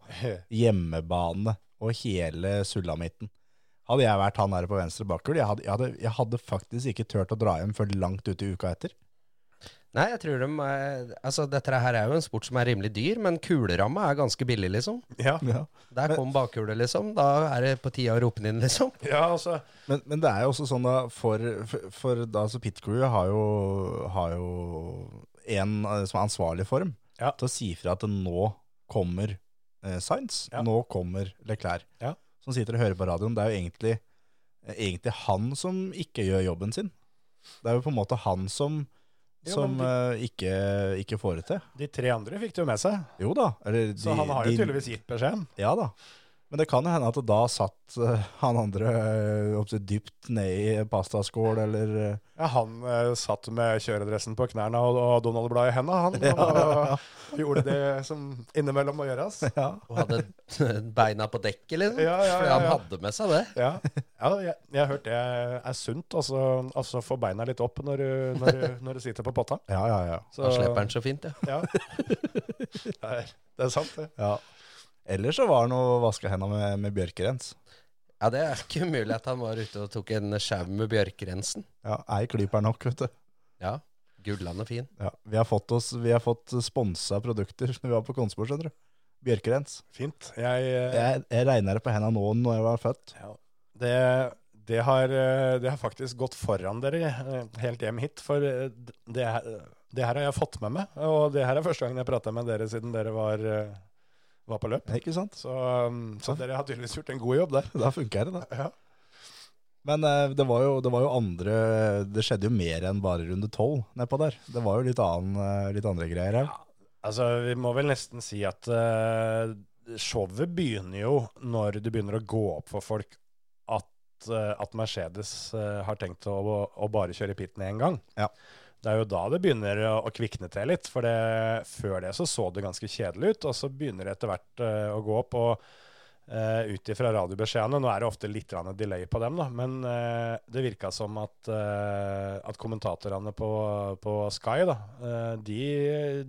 Hjemmebane og hele sulamitten. Hadde jeg vært han her på venstre bakhjul, jeg, hadde- jeg, hadde- jeg hadde faktisk ikke turt å dra hjem før langt ut i uka etter.
Nei, jeg tror de eh, Altså, dette her er jo en sport som er rimelig dyr, men kuleramma er ganske billig, liksom.
ja.
Ja.
Der kom bakhjulet, liksom. Da er det på tide å rope den inn, liksom.
ja, altså.
Men, men det er jo også sånn da, for, for, for da, altså pit crew har jo, har jo en eh, som er ansvarlig for dem,
Ja.
til å si fra at det nå kommer eh, Sainz,
Ja.
nå kommer Leclerc,
Ja.
som sitter og hører på radioen. Det er jo egentlig, eh, egentlig han som ikke gjør jobben sin. Det er jo på en måte han som,
Ja,
som
men
eh, ikke, ikke får det til.
De tre andre fikk det jo med seg,
Jo da. Eller
så han har jo tydeligvis gitt beskjeden.
ja da. Men det kan jo hende at da satt eh, han andre eh, opptil dypt ned i en pastaskål, eller eh,
Ja, han eh, satt med kjøredressen på knærne og, og Donald-bladet i henda, han. Og, gjorde det som innimellom må gjøres.
ja.
Og hadde beina på dekket, liksom.
Ja, ja,
Fordi
ja,
han
ja.
hadde med seg det.
Ja, ja jeg, jeg har hørt det er sunt. Altså, altså få beina litt opp når du, når, du, når du sitter på potta.
Ja, ja, ja.
Så-
Da slipper han så fint, ja.
Ja. Det er, det er sant, det.
ja. Eller så var han og vaska henda med, med bjørkerens.
Ja, det er ikke umulig at han var ute og tok en sjau med bjørkerensen.
Ja, Ei klype er nok, vet du.
Ja, gullande fin.
Ja. Vi har fått, oss- vi har fått sponsa produkter når vi var på Konsborg, skjønner du. Bjørkerens.
Fint. Jeg, eh,
Jeg, jeg regner det på henda nå når jeg var født.
ja. det, det, har, eh, det har faktisk gått foran dere eh, helt hjem hit, for eh, det, her- det her har jeg fått med meg. Og det her er første gangen jeg prata med dere siden dere var, eh, var på løp.
Ikke sant?
Så, um, så dere har tydeligvis gjort en god jobb der.
Da funker det, da.
Ja.
Men eh, det var, jo, det var jo andre Det skjedde jo mer enn bare runde tolv nedpå der. Det var jo litt, annen, eh, litt andre greier her.
Altså, vi må vel nesten si at eh, showet begynner jo når det begynner å gå opp for folk at, eh, at Mercedes eh, har tenkt å, å, å bare kjøre i pitten én gang.
Ja.
Det er jo da det begynner å, å kvikne til litt, for det, før det så så det ganske kjedelig ut, og så begynner det etter hvert eh, å gå opp. og Uh, ut ifra radiobeskjedene. Nå er det ofte litt grann delay på dem, da, men eh, det virka som at, eh, at kommentatorene på, på Sky da, eh, de,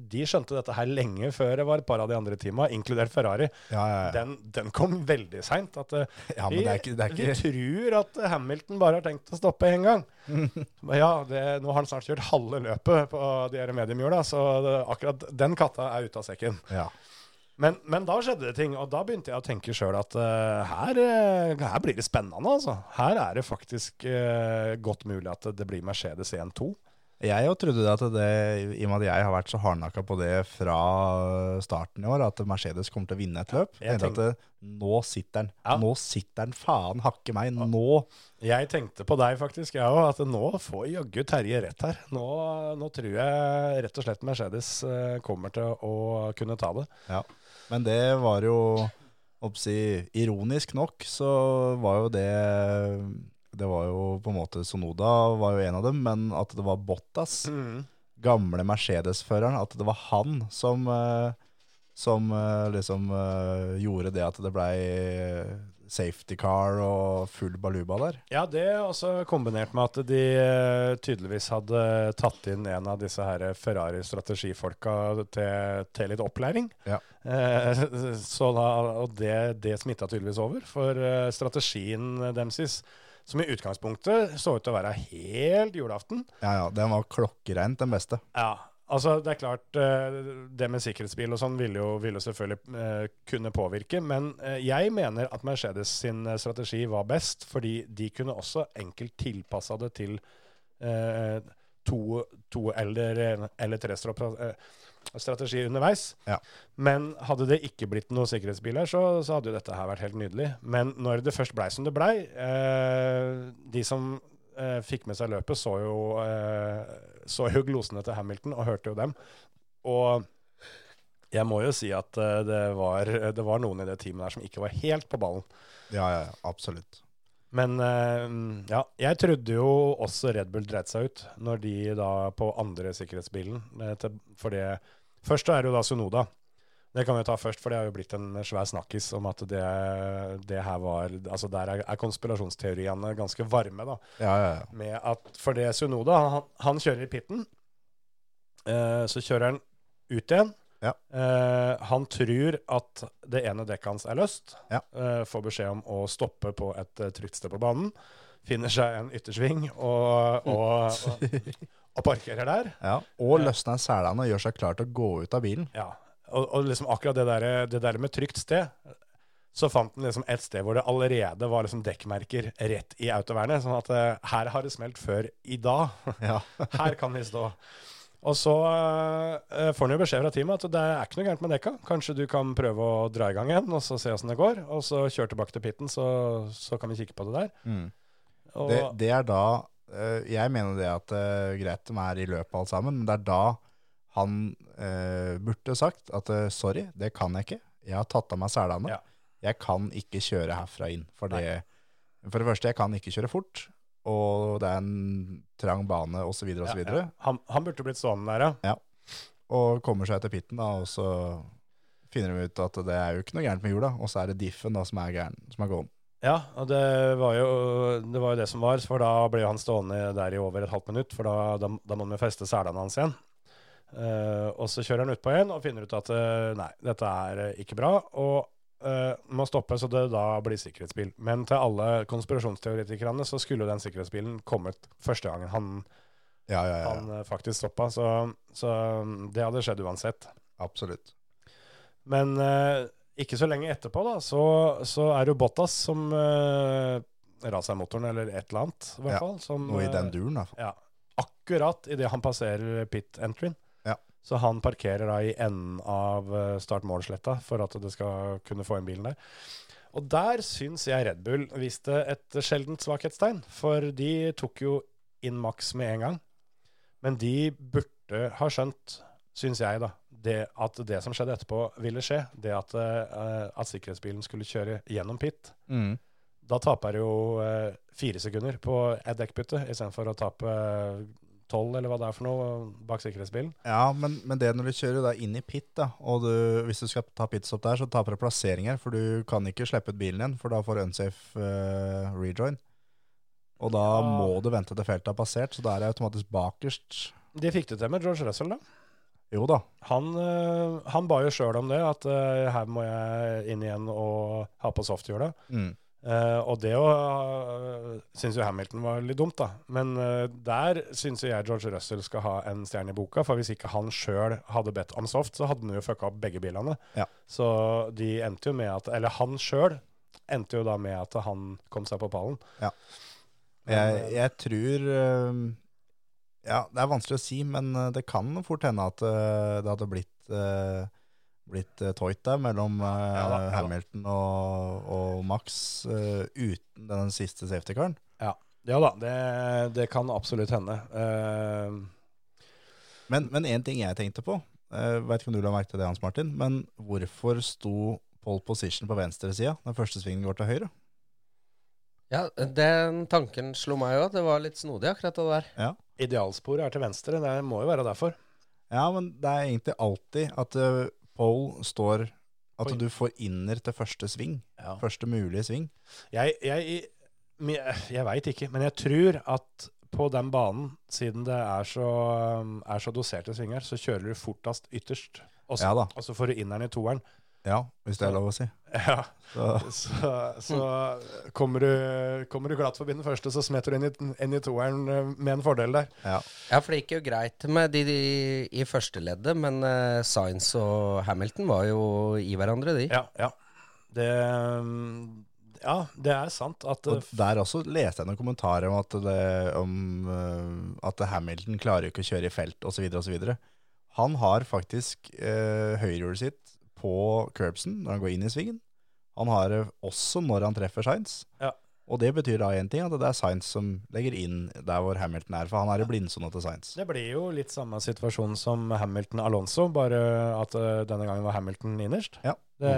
de skjønte dette her lenge før det var et par av de andre teama, inkludert Ferrari.
Ja, ja, ja.
Den, den kom veldig seint.
ja men det er ikke, det er
Vi
ikke
tror at Hamilton bare har tenkt å stoppe én gang. Men ja, det, nå har han snart kjørt halve løpet på de her mediumhjula, så det, akkurat den katta er ute av sekken.
ja.
Men, men da skjedde det ting, og da begynte jeg å tenke sjøl at eh, her, eh, her blir det spennende, altså. Her er det faktisk eh, godt mulig at det blir Mercedes 1-2.
Jeg jo trodde det at det, i og med at jeg har vært så hardnakka på det fra starten i år, at Mercedes kommer til å vinne et løp. Jeg
jeg
tenkte at det, nå sitter den.
Ja.
Nå sitter den, faen hakke meg. Nå.
Jeg tenkte på deg faktisk, jeg òg, at nå får jaggu Terje rett her. Nå, nå tror jeg rett og slett Mercedes eh, kommer til å kunne ta det.
Ja. Men det var jo oppsi, Ironisk nok så var jo det Det var jo på en måte Sonoda var jo en av dem, men at det var Bottas, gamle Mercedes-føreren, at det var han som eh, som eh, liksom eh, gjorde det at det blei safety car og full baluba der.
Ja, det er også kombinert med at de eh, tydeligvis hadde tatt inn en av disse her Ferrari-strategifolka til, til litt opplæring.
Ja.
Eh, så da, og det, det smitta tydeligvis over, for eh, strategien demsis, som i utgangspunktet så ut til å være helt julaften,
Ja, ja, den var klokkereint den beste.
ja, altså det er klart eh, Det med sikkerhetsbil og sånn vil jo, vil jo selvfølgelig eh, kunne påvirke, men eh, jeg mener at Mercedes sin eh, strategi var best, fordi de kunne også enkelt tilpassa det til eh, to, to eller, eller tre stra- eh, strategi underveis.
Ja.
Men hadde det ikke blitt noen sikkerhetsbil her, så, så hadde jo dette her vært helt nydelig. Men når det først blei som det blei, eh, de som eh, fikk med seg løpet, så jo, eh, så jo glosene til Hamilton og hørte jo dem. Og Jeg må jo si at eh, det var, det var noen i det teamet der som ikke var helt på ballen.
Ja, ja, ja, absolutt.
Men eh, ja, jeg trodde jo også Red Bull dreit seg ut når de da på andre sikkerhetsbilen eh, til, For det Først da er det jo da Sunoda. Det kan vi ta først, for det har jo blitt en svær snakkis om at det, det her var Altså der er, er konspirasjonsteoriene ganske varme, da
Ja, ja, ja.
med at For det Sunoda, han, han kjører i pitten. Eh, så kjører han ut igjen.
Ja.
Eh, han tror at det ene dekket hans er løst.
Ja.
Eh, får beskjed om å stoppe på et eh, trygt sted på banen. Finner seg en yttersving og, og,
Mm.
og, og parkerer der.
ja. Og løsner selene og gjør seg klar til å gå ut av bilen.
Ja, og, og liksom akkurat det der, det der med trygt sted, så fant den liksom et sted hvor det allerede var liksom dekkmerker rett i autovernet, sånn at eh, her har det smelt før i dag.
Ja.
her kan vi stå. Og så eh, får han jo beskjed fra teamet at det er ikke noe gærent med dekka, kanskje du kan prøve å dra i gang igjen, og så se åssen det går, og så kjør tilbake til pitten, så, så kan vi kikke på det der.
Mm.
Og,
Det, det er da eh, Jeg mener det at eh, greit de er i løpet alt sammen, men det er da han eh, burde sagt at eh, sorry, det kan jeg ikke. Jeg har tatt av meg selene.
Ja.
Jeg kan ikke kjøre herfra inn. For det, for det første, jeg kan ikke kjøre fort, og det er en trang bane osv.
ja,
osv.
ja. Han, han burde blitt stående der, ja.
Og kommer seg til pitten, da, og så finner de ut at det er jo ikke noe gærent med hjula, og så er det diffen da som er gæren, som er gåen.
Ja, og det var jo det, var jo det som var, for da ble han stående der i over et halvt minutt, for da, da, da må han jo feste selene hans igjen. Eh, og så kjører han utpå igjen og finner ut at eh, nei, dette er eh, ikke bra, og eh, må stoppe, så det da blir sikkerhetsbil. Men til alle konspirasjonsteoretikerne så skulle jo den sikkerhetsbilen kommet første gangen han,
Ja, ja, ja.
han eh, faktisk stoppa, så, så mm, det hadde skjedd uansett.
Absolutt.
Men eh, ikke så lenge etterpå, da, så, så er det jo Bottas som eh, raser motoren, eller et eller annet, i hvert
Ja,
fall. Som,
Noe i den
eh,
duren, da.
Ja. Akkurat idet han passerer pit-entryen.
Ja.
Så han parkerer da i enden av eh, start-mål-sletta for at det skal kunne få inn bilen der. Og der syns jeg Red Bull viste et sjeldent svakhetstegn, for de tok jo inn maks med en gang. Men de burde ha skjønt, syns jeg, da, det at det som skjedde etterpå, ville skje. Det at, eh, at sikkerhetsbilen skulle kjøre gjennom pit.
Mm.
Da taper du jo eh, fire sekunder på et dekkbytte, istedenfor å tape eh, tolv eller hva det er for noe bak sikkerhetsbilen.
Ja, men, men det når du kjører da inn i pit, da, og du, hvis du skal ta pitstop der, så taper du plassering her, for du kan ikke slippe ut bilen igjen, for da får du unsafe eh, rejoin. Og da
Ja.
må du vente til feltet har passert, så da er det automatisk bakerst.
Det fikk du til med George Russell, da.
Jo da,
Han, eh, han ba jo sjøl om det, at eh, her må jeg inn igjen og ha på softhjula.
mm.
Eh, og det uh, syns jo Hamilton var litt dumt, da. Men eh, der syns jo jeg George Russell skal ha en stjerne i boka, for hvis ikke han sjøl hadde bedt om soft, så hadde han jo fucka opp begge bilene.
Ja.
Så de endte jo med at Eller han sjøl endte jo da med at han kom seg på pallen.
Ja. jeg,
Men, eh,
jeg tror eh, Ja, det er vanskelig å si, men eh, det kan fort hende at eh, det hadde blitt eh, blitt eh, toit der mellom eh,
da, ja da.
Hamilton og, og Max eh, uten den siste safety-karen.
ja da, det, det kan absolutt hende. Eh,
Men, men en ting jeg tenkte på, uh, vet ikke om du la merke til det, Hans Martin, men hvorfor sto pole position på venstre sida når første svingen går til høyre?
Ja, den tanken slo meg òg. Det var litt snodig, akkurat det der.
idealsporet er til venstre, det må jo være derfor.
Ja, men det er egentlig alltid at uh, pole står at
Oi.
du får inner til første sving.
Ja.
Første mulige sving.
Jeg, jeg, men jeg, jeg veit ikke, men jeg tror at på den banen, siden det er så, um, er så doserte svinger, så kjører du fortest ytterst. Og så,
Ja da.
og så får du inneren i toeren.
Ja, hvis det er lov å si.
Ja,
Så,
så, så kommer, du, kommer du glatt forbi den første, så smetter du inn i, inn i toeren uh, med en fordel der.
ja.
Ja, for det gikk jo greit med de, de i første leddet, men uh, Sainz og Hamilton var jo i hverandre, de.
Ja, ja. Det, um, ja, det er sant at uh,
Og der også leste jeg noen kommentarer om at, det, om, eh, at Hamilton klarer jo ikke å kjøre i felt osv. osv. Han har faktisk eh, høyrehjulet sitt på curbsen når han går inn i svingen. Han har det også når han treffer Shines.
Ja.
Og det betyr da én ting, at det er Sainz som legger inn der hvor Hamilton er, for han er i blindsona til Sainz.
Det blir jo litt samme situasjon som Hamilton-Alonso, bare at eh, denne gangen var Hamilton innerst.
Ja. Mm.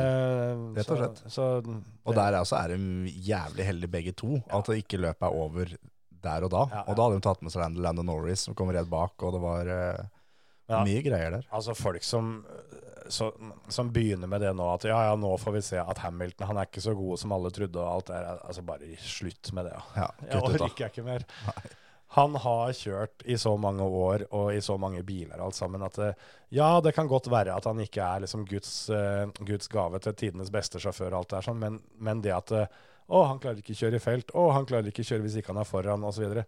Det,
Rett og slett.
Så, så,
Og der altså er de jævlig heldige begge to, at det ikke løpet er over der og da.
Ja, ja.
Og da hadde de tatt med seg Land- Lando Norris, som kom rett bak, og det var eh,
Ja.
mye greier der.
Altså folk som, så, som begynner med det nå, at ja, ja, nå får vi se at Hamilton han er ikke så god som alle trodde og alt det der. Altså bare slutt med det. Ja.
Ja,
Jeg
kutt ut, da.
orker ikke mer. Han har kjørt i så mange år og i så mange biler alt sammen at eh, ja, det kan godt være at han ikke er liksom Guds, eh, Guds gave til tidenes beste sjåfør og alt det der sånn, men, men det at eh, å, han klarer ikke kjøre i felt, å, han klarer ikke kjøre hvis ikke han er foran osv.,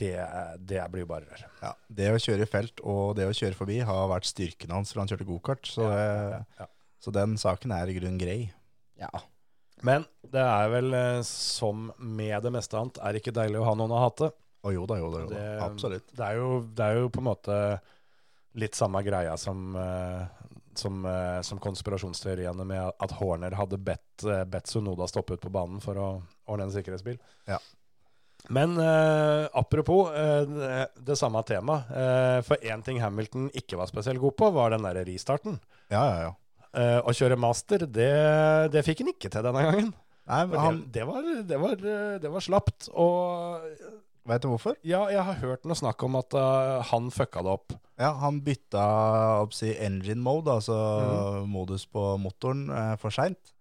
det, er- det blir jo bare rør.
Ja, det å kjøre i felt og det å kjøre forbi har vært styrken hans fra han kjørte gokart, så, det-
ja.
så den saken er i grunnen grei.
Ja.
Men det er vel eh, som med det meste annet, er det ikke deilig å ha noen å hate.
Å jo da, jo da, jo da.
Det-
Absolutt.
Det er jo, det er jo på en måte litt samme greia som, eh, som, eh, som konspirasjonsteoriene med at Horner hadde bedt, eh, bedt Sunoda stoppe ut på banen for å ordne en sikkerhetsbil.
Ja.
Men eh, apropos eh, det- det samme temaet. Eh, for én ting Hamilton ikke var spesielt god på, var den derre restarten.
Ja, ja, ja.
Eh, å kjøre master, det, det fikk han ikke til denne gangen.
Nei, men
For
han,
det, det, var, det, var, det var slapt. Og
vet du hvorfor?
ja, jeg har hørt noe snakk om at eh, han fucka det opp.
Ja, han bytta opp si engine mode, altså
Mhm.
modus på motoren, eh, for seint.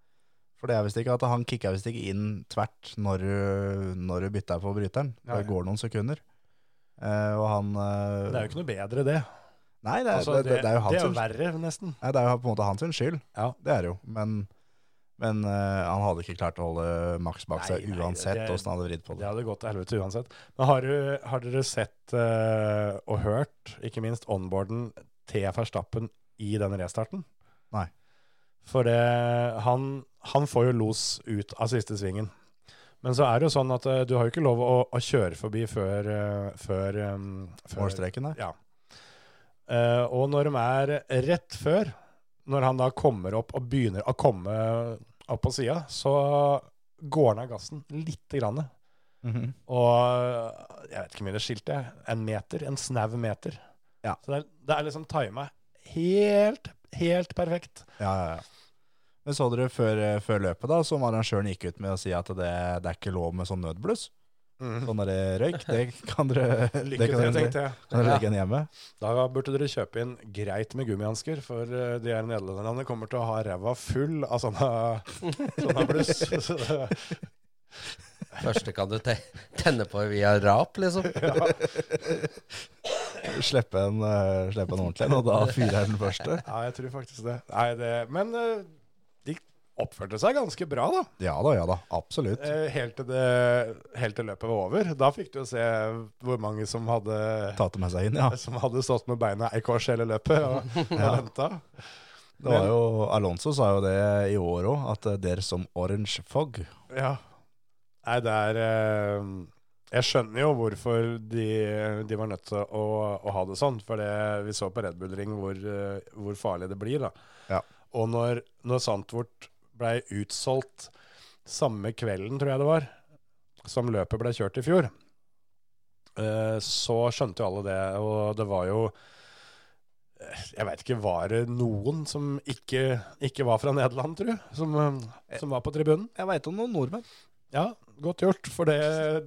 For det er visst ikke at han kicka visst ikke inn tvert når du, når du bytta på bryteren.
Ja, ja.
Det går noen sekunder. Eh, og han eh,
Det er jo ikke noe bedre, det.
Nei, det, er-
Altså,
det, det, det er jo hans skyld.
verre, nesten.
Nei, det er jo på en måte hans skyld.
Ja.
Det er det jo. Men, men eh, han hadde ikke klart å holde Max bak
Nei,
seg
nei,
uansett
det-
åssen han hadde vridd på
Det
det.
hadde gått til helvete uansett. Men har, du, har dere sett eh, og hørt, ikke minst onboarden til Verstappen i den restarten?
Nei.
For det, han, han får jo los ut av siste svingen. Men så er det jo sånn at eh, du har jo ikke lov å, å kjøre forbi før, eh, før, eh, før
Målstreken der.
Ja. Eh, og når de er rett før, når han da kommer opp og begynner å komme opp på sida, så går han av gassen lite grann.
Mhm.
Og jeg vet ikke hvor mye det skilte. En meter, en snau meter.
Ja.
Så det er, det er liksom tima helt, helt perfekt.
Ja, ja, ja. Men så dere før, eh, før løpet, da, som arrangøren gikk ut med å si at det, det er ikke lov med sånn nødbluss. Sånn der røyk, det kan dere, det
Lykke
kan
til,
dere,
tenkte jeg.
kan dere legge igjen hjemme.
Da burde dere kjøpe inn greit med gummihansker, for eh, de her nederlenderne kommer til å ha ræva full av sånne, sånne bluss. Så det-
Første kan du te tenne på via rap, liksom.
Slippe en, eh, slippe en ordentlig en, og da fyrer jeg den første.
Ja, jeg tror faktisk det. Nei, det men eh, de oppførte seg ganske bra, da.
Ja da, ja da, absolutt.
Eh, helt, til det, helt til løpet var over. Da fikk du jo se hvor mange som hadde,
Tatt det med seg inn, ja.
som hadde stått med beina i kors hele løpet og, og venta.
Det var jo, Alonso sa jo det i år òg, at eh, det er som orange fog.
Ja. Nei, det er eh, Jeg skjønner jo hvorfor de, de var nødt til å, å ha det sånn. For det, vi så på Red Bull Ring hvor, eh, hvor farlig det blir. da.
Ja.
Og når, når Sandtvort ble utsolgt samme kvelden, tror jeg det var, som løpet ble kjørt i fjor, eh, så skjønte jo alle det. Og det var jo eh, jeg veit ikke, var det noen som ikke, ikke var fra Nederland, tru? Som, eh, som var på tribunen?
Jeg veit om noen nordmenn.
Ja, godt gjort, for det,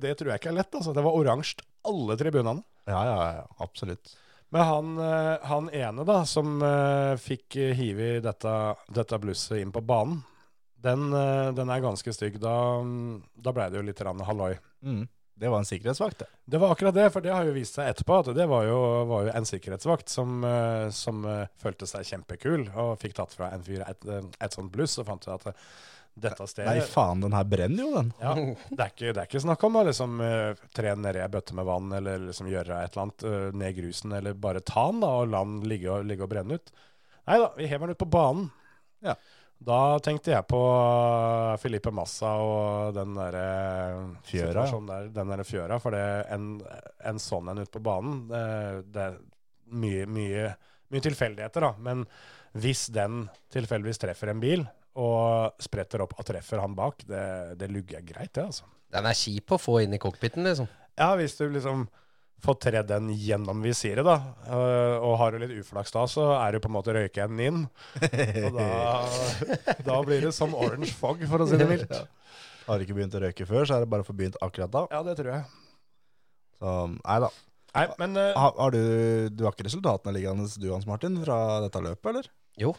det tror jeg ikke er lett. Altså. Det var oransje alle tribunene.
Ja, ja, ja, absolutt.
Men han, eh, han ene da, som eh, fikk eh, hive i dette, dette blusset inn på banen, den, eh, den er ganske stygg. Da, mm, da ble det jo litt rann halloi.
Mm. Det var en sikkerhetsvakt, det.
Det var akkurat det, for det har jo vist seg etterpå at det var jo, var jo en sikkerhetsvakt som, eh, som eh, følte seg kjempekul og fikk tatt fra en fyr et, eh, et sånt bluss og fant ut at eh, dette stedet
Nei, faen, den her brenner jo, den.
Ja, det er ikke, det er ikke snakk om å liksom, eh, tre ned i ei bøtte med vann eller liksom gjøre et eller annet eh, ned i grusen, eller bare ta den da, og la den ligge og, ligge og brenne ut. Nei da, vi hever den ut på banen.
Ja.
Da tenkte jeg på eh, Filipe Massa og den derre eh,
Fjøra, ja.
situasjonen der, den derre fjøra, for det, en, en sånn en ute på banen, det, det er mye, mye, mye tilfeldigheter, da. Men hvis den tilfeldigvis treffer en bil og spretter opp og treffer han bak, det, det lugger greit, det, altså.
Den er kjip å få inn i cockpiten, liksom.
Ja, hvis du liksom får tredd den gjennom visiret, da, øh, og har du litt uflaks da, så er du på en måte røykeenden inn. Og da, da blir det som orange fog, for å si det mildt.
Har du ikke begynt å røyke før, så er det bare for begynt akkurat da.
Ja, det tror jeg.
Så nei da.
Nei, men øh,
Har, har du, du har ikke resultatene liggende, du Hans Martin, fra dette løpet, eller?
Jo.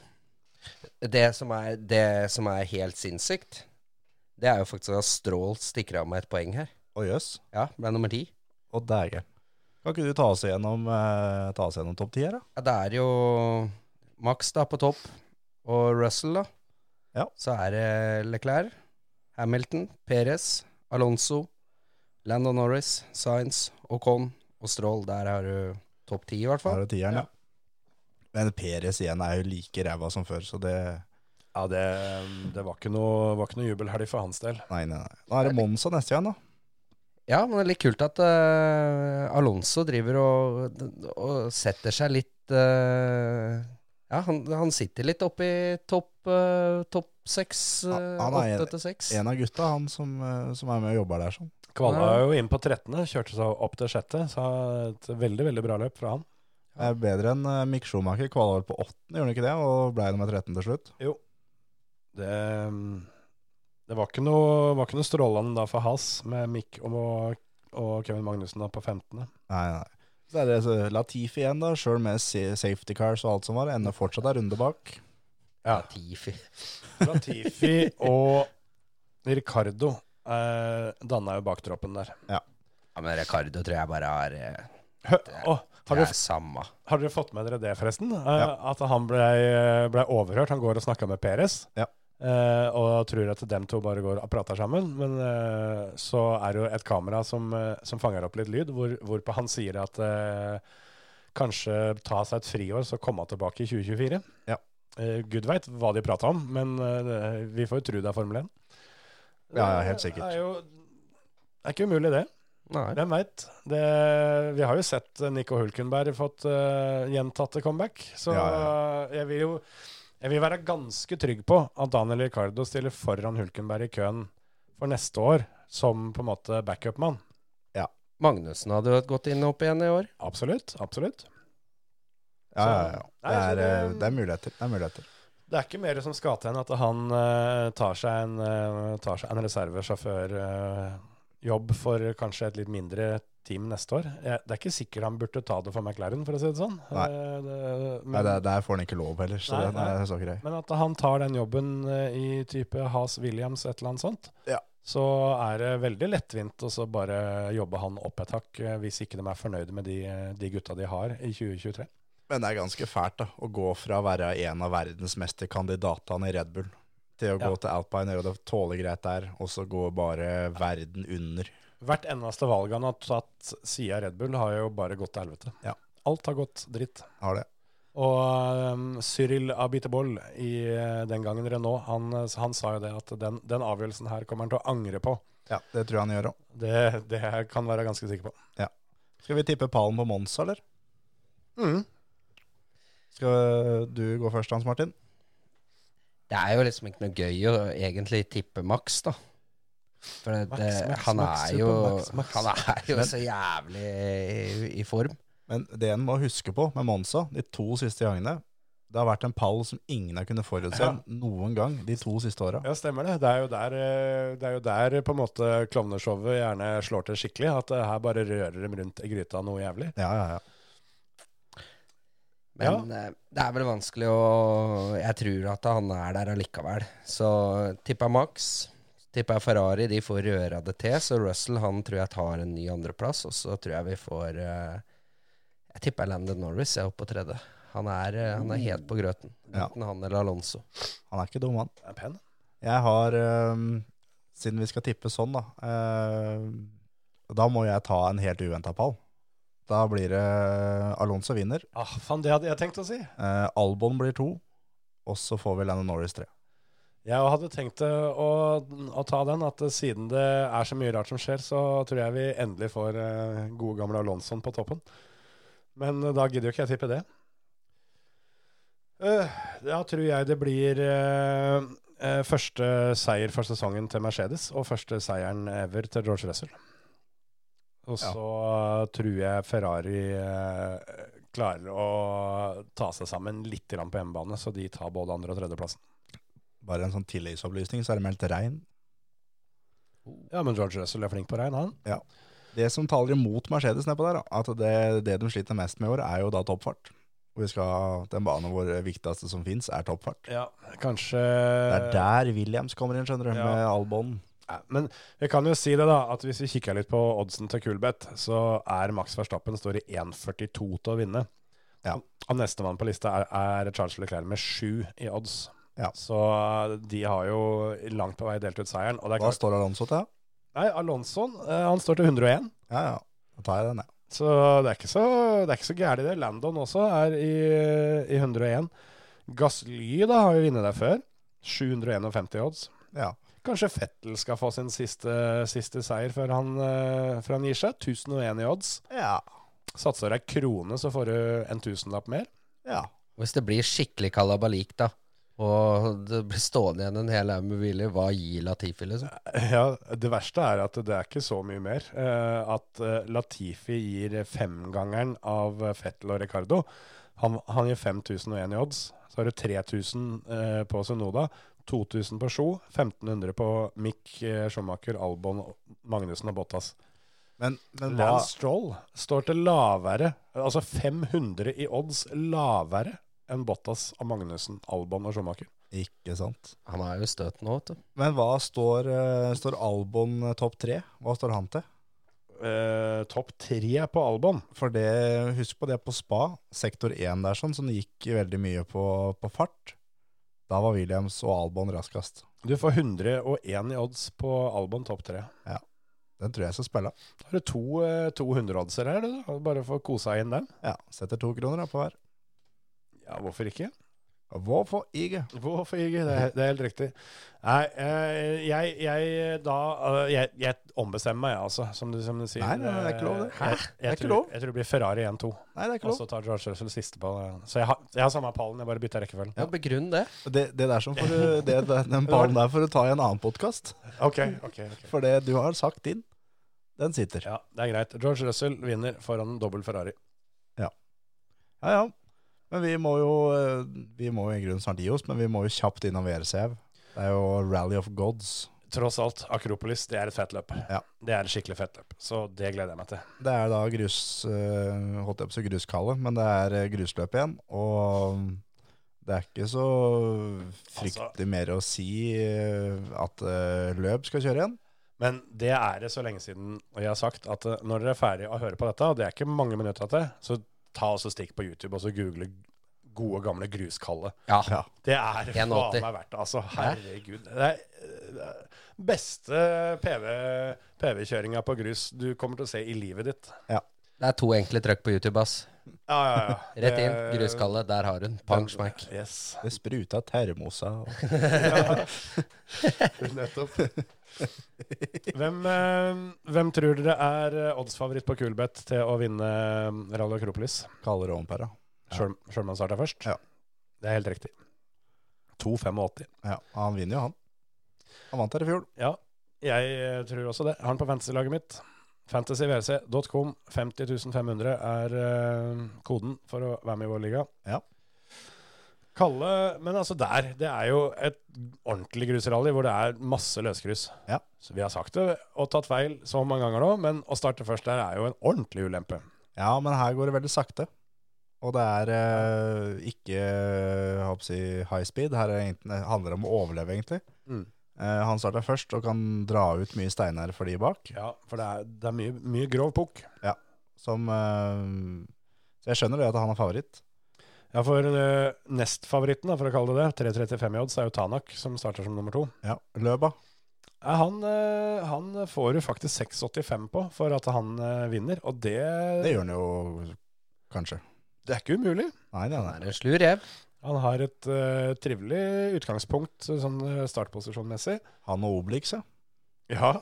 Det som er, det som er helt sinnssykt, det er jo faktisk at Strål stikker av meg et poeng her.
Å jøss.
Ja, ble nummer ti.
Å dæge. Kan ikke du ta oss gjennom, eh, ta oss gjennom topp ti her, da?
Ja, det er jo Max da på topp, og Russell da.
Ja.
Så er det Leclerc, Hamilton, Perez, Alonso, Landon Norris, Sainz, Ocon og Stroll. Der har du topp ti i hvert
Her
fall.
er tieren, ja. Men Peres igjen er jo like ræva som før, så det
ja, det, det var ikke noe, var ikke noe jubelhelg for hans del.
Nei, nei, nei. Nå er det Monza neste gang, da.
Ja, men det er litt kult at eh, Alonso driver og, og setter seg litt eh, Ja, han, han sitter litt oppe i topp eh, topp seks,
Ja,
eh,
han er
åtte til seks.
En av gutta, han som, eh, som er med og jobber der sånn.
Kvala jo inn på 13., kjørte seg opp til sjette, så et veldig, veldig bra løp fra han.
Det er bedre enn eh, Mick Schumacher. Kvala vel på åttende, gjorde han ikke det? Og ble nummer 13 til slutt.
Det, det var, ikke noe, var ikke noe strålende da for Haas med Mick og, og Kevin Magnussen da på 15.
Nei, nei. Så er det så Latifi igjen, da. Sjøl med sa- safety cars og alt som var. Ender fortsatt en runde bak.
Ja, ti, fy-
Latifi og Ricardo eh, danna jo baktroppen der.
ja, men Ricardo tror jeg bare har eh,
Hø, å, har,
Det er
dere,
samme.
har dere fått med dere det, forresten? Eh,
Ja.
At han ble, eh, ble overhørt. Han går og snakker med Peres.
Ja.
eh, og tror at dem to bare går og prater sammen. Men eh, så er det jo et kamera som, eh, som fanger opp litt lyd, hvor, hvorpå han sier at eh, kanskje ta seg et friår, så komme tilbake i 2024.
Ja.
Eh, Gud veit hva de prata om, men eh, vi får jo tro det er Formel 1.
Ja, ja, helt sikkert.
Det er jo det er ikke umulig, det.
Nei.
Hvem veit? Vi har jo sett eh, Nico Hulkenberg fått eh, gjentatte comeback, så
Ja,
eh, jeg vil jo jeg vil være ganske trygg på at Daniel Ricardo stiller foran Hulkenberg i køen for neste år som på en måte backup-mann.
Magnussen hadde jo gått inn og opp igjen i år.
Absolutt. absolutt.
Ja, ja, ja. Det
Nei, så
er, eh,
det-
det er muligheter. Det er muligheter.
Det er ikke mer som skal til enn at han eh, tar seg en, eh, tar seg en reservesjåførjobb for kanskje et litt mindre team neste år. Jeg, det er ikke sikkert han burde ta det for McLaren, for å si det sånn.
Nei.
Eh, det, men,
Nei, der, der får han ikke lov heller, så
Nei,
den
nei.
er så grei.
men at han tar den jobben eh, i type Has Williams, et eller annet sånt,
Ja.
så er det veldig lettvint å så bare jobbe han opp et hakk eh, hvis ikke de er fornøyd med de, eh, de gutta de har i 2023.
Men det er ganske fælt da, å gå fra å være en av verdens meste kandidatene i Red Bull til å
Ja.
gå til Alpine, gjøre det tåler greit der, og så går bare verden under.
Hvert eneste valg han har tatt siden Red Bull, har jo bare gått til helvete.
Ja.
Alt har gått dritt.
Har det.
Og um, Cyril Abiteboll i eh, den gangen Renault, han, eh, han sa jo det at den, den avgjørelsen her kommer han til å angre på.
Ja, det tror jeg han gjør òg.
Det, det her kan være ganske sikker på.
Skal vi tippe pallen på Monza, eller? Mm. Skal du gå først, Hans Martin?
Det er jo liksom ikke noe gøy å egentlig tippe Max, da. For det,
Max, Max,
han,
Max,
er jo,
super Max, Max.
han er jo så jævlig i, i form.
Men det en må huske på med Monza de to siste gangene, det har vært en pall som ingen har kunnet forutse
Ja.
noen gang de to siste åra.
Ja, stemmer det. Det er jo der, eh, det er jo der på en måte klovneshowet gjerne slår til skikkelig. At eh, her bare rører dem rundt i gryta noe jævlig.
Ja, ja, ja.
Men eh, det er vel vanskelig å Jeg tror at han er der allikevel. Så tipper jeg Max. Tipper jeg Ferrari de får røra det til. Så Russell han tror jeg tar en ny andreplass. Og så tror jeg vi får eh, Jeg tipper Landon Norris er oppe på tredje. Han er, eh, han er helt på grøten.
Ja.
Enten han eller Alonso.
Han er ikke dum, han.
Det er pen.
Jeg har ehm, Siden vi skal tippe sånn, da ehm, Da må jeg ta en helt uventa pall. Da blir det Alonso vinner.
Ah, faen, det hadde jeg tenkt å si.
eh, Albon blir to. Og så får vi Landon Norris tre.
Jeg hadde tenkt eh, å, å ta den, at eh, siden det er så mye rart som skjer, så tror jeg vi endelig får eh, gode gamle Alonson på toppen. Men eh, da gidder jo ikke jeg tippe det. Eh, da tror jeg det blir eh, Eh, første seier for sesongen til Mercedes, og første seieren ever til George Russell. Og
Ja.
så eh, tror jeg Ferrari eh, klarer å ta seg sammen litt grann på hjemmebane, så de tar både andre- og tredjeplassen.
Bare en sånn tilleggsopplysning, så er det meldt regn.
Ja, men George Russell er flink på regn, han.
Det som taler imot Mercedes nedpå der, da, at det, det de sliter mest med i år, er jo da toppfart. Og vi skal, den banen hvor det viktigste som fins, er toppfart.
Ja, kanskje
Det er der Williams kommer inn, skjønner du,
Eh, Ja.
med Albon.
Ja, Men jeg kan jo si det, da, at hvis vi kikker litt på oddsen til Kulbeth, så er Max Verstappen står i 1,42 til å vinne.
Ja.
Og nestemann på lista er, er Charles Leclerc med sju i odds.
Ja.
Så eh, de har jo langt på vei delt ut seieren. Og det er
Hva
klart,
står Alonso til?
nei, Alonson eh, han står til 101,
Ja, ja. Da tar jeg den, jeg.
så det er ikke så, det er ikke så gærent det. Landon også er i, i 101. Gasly da har jo vunnet der før. 751 i odds.
Ja.
Kanskje Fettel skal få sin siste, siste seier før han, eh, før han gir seg. 1001 i odds.
Ja.
Satser ei krone, så får du en tusenlapp mer.
ja.
Hvis det blir skikkelig kalabalik, da, og det blir stående igjen en hel haug med biler, hva gir Latifi, liksom?
Ja, Det verste er at det er ikke så mye mer. Eh, at eh, Latifi gir femgangeren av eh, Fettel og Ricardo. Han, han gir 5001 i odds. Så har du 3000 eh, på Sunoda, 2000 på Sjo, 1500 på Mick eh, Schumacher, Albon, Magnussen og Bottas.
Men, men hva
Lance Stroll står til lavere, altså 500 i odds lavere enn Bottas og Magnussen, Albon og Schumacher.
Ikke sant.
Han er jo i støt nå, vet du.
Men hva står, eh, står Albon eh, topp tre? Hva står han til?
Eh, topp tre på Albon.
For det, husk på det på spa, sektor 1 der sånn, som gikk veldig mye på, på fart. Da var Williams og Albon raskest.
Du får 101 i odds på Albon topp tre.
Den tror jeg skal spille.
Da har du to, eh, to 100-oddser her, du, da. Bare for å kose deg inn dem.
Ja, setter to kroner da, på hver.
Ja, hvorfor ikke?
Hvorfor ikke?
Hvorfor ikke? Det er, det er helt riktig. Nei, eh, jeg, jeg da eh, jeg, jeg ombestemmer meg, altså, som du, som du sier.
Nei, nei, nei, det er ikke lov, det.
Hæ?
Det
Jeg,
er
jeg,
ikke
tror,
lov.
jeg tror det blir Ferrari 1-2.
Nei, det er ikke
Og
lov.
så tar George Russell siste på det. Så jeg har, jeg har samme pallen, jeg bare bytter rekkefølgen.
Ja, begrunn det.
Det, det der som får du, det, det- den ballen der får du ta i en annen podkast.
Ok, ok, ok.
For det du har sagt din, den sitter.
Ja, det er greit. George Russell vinner foran en dobbel Ferrari.
Ja, ja. Men vi må jo eh, Vi må jo i grunnen snart gi oss, men vi må jo kjapt innom VRCV. Det er jo Rally of Gods.
Tross alt, Akropolis, det er et fett løp.
Ja.
Det er et skikkelig fett løp, så det gleder jeg meg til.
Det er da grus, eh, holdt jeg på å si gruskallet, men det er eh, grusløp igjen. Og det er ikke så fryktelig mer å si eh, at eh, løp skal kjøre igjen.
Men det er det så lenge siden, og jeg har sagt at eh, når dere er ferdig å høre på dette, og det er ikke mange minutter til, så ta også stikk på YouTube og så google gode gamle gruskalle.
Ja.
Ja.
Det er
1,80.
faen meg verdt det, altså. Herregud. Det er, det er beste PV PV-kjøringa på grus du kommer til å se i livet ditt.
Det er to enkle trøkk på YouTube, ass.
Ja, ja, ja.
Rett inn,
Det-
gruskalle, der har hun. Pang, smack.
Yes.
Det spruta termosa. og-
Nettopp. Hvem, eh, hvem tror dere er eh, oddsfavoritt på Kulbeth til å vinne eh, Rally Akropolis?
Kaller det ovenpæra.
Sjøl om han starta først?
Ja.
Det er helt riktig. 2,85.
Ja, han vinner jo, han. Han vant her i fjor.
Ja, jeg eh, tror også det. Har han på fantasy-laget mitt. Fantasyvrc.com. 50.500 er eh, koden for å være med i vår liga.
Ja.
Kalle Men altså, der. Det er jo et ordentlig grusrally hvor det er masse løsgrus.
Ja.
Så vi har sagt det og tatt feil så mange ganger nå, men å starte først der er jo en ordentlig ulempe.
Ja, men her går det veldig sakte. Og det er eh, ikke jeg håper å si, high speed. Her er det egentlig- det handler det om å overleve, egentlig.
Mm.
Eh, han starter først og kan dra ut mye steiner for de bak.
Ja, for det er, det er mye, mye grov pukk.
Som eh, Så jeg skjønner det at han er favoritt.
Ja, for eh, nestfavoritten, da, for å kalle det det, 3.35 i odds, er jo Tanak, som starter som nummer to.
Ja. Løba.
Ja, han, eh, han får du faktisk 6,85 på for at han eh, vinner, og det,
Det gjør han jo kanskje.
det er ikke umulig.
Nei, nei,
Han
nei.
er en slu rev.
Han har et eh, trivelig utgangspunkt sånn eh, startposisjonmessig.
Han og Obelix, ja.
Ja.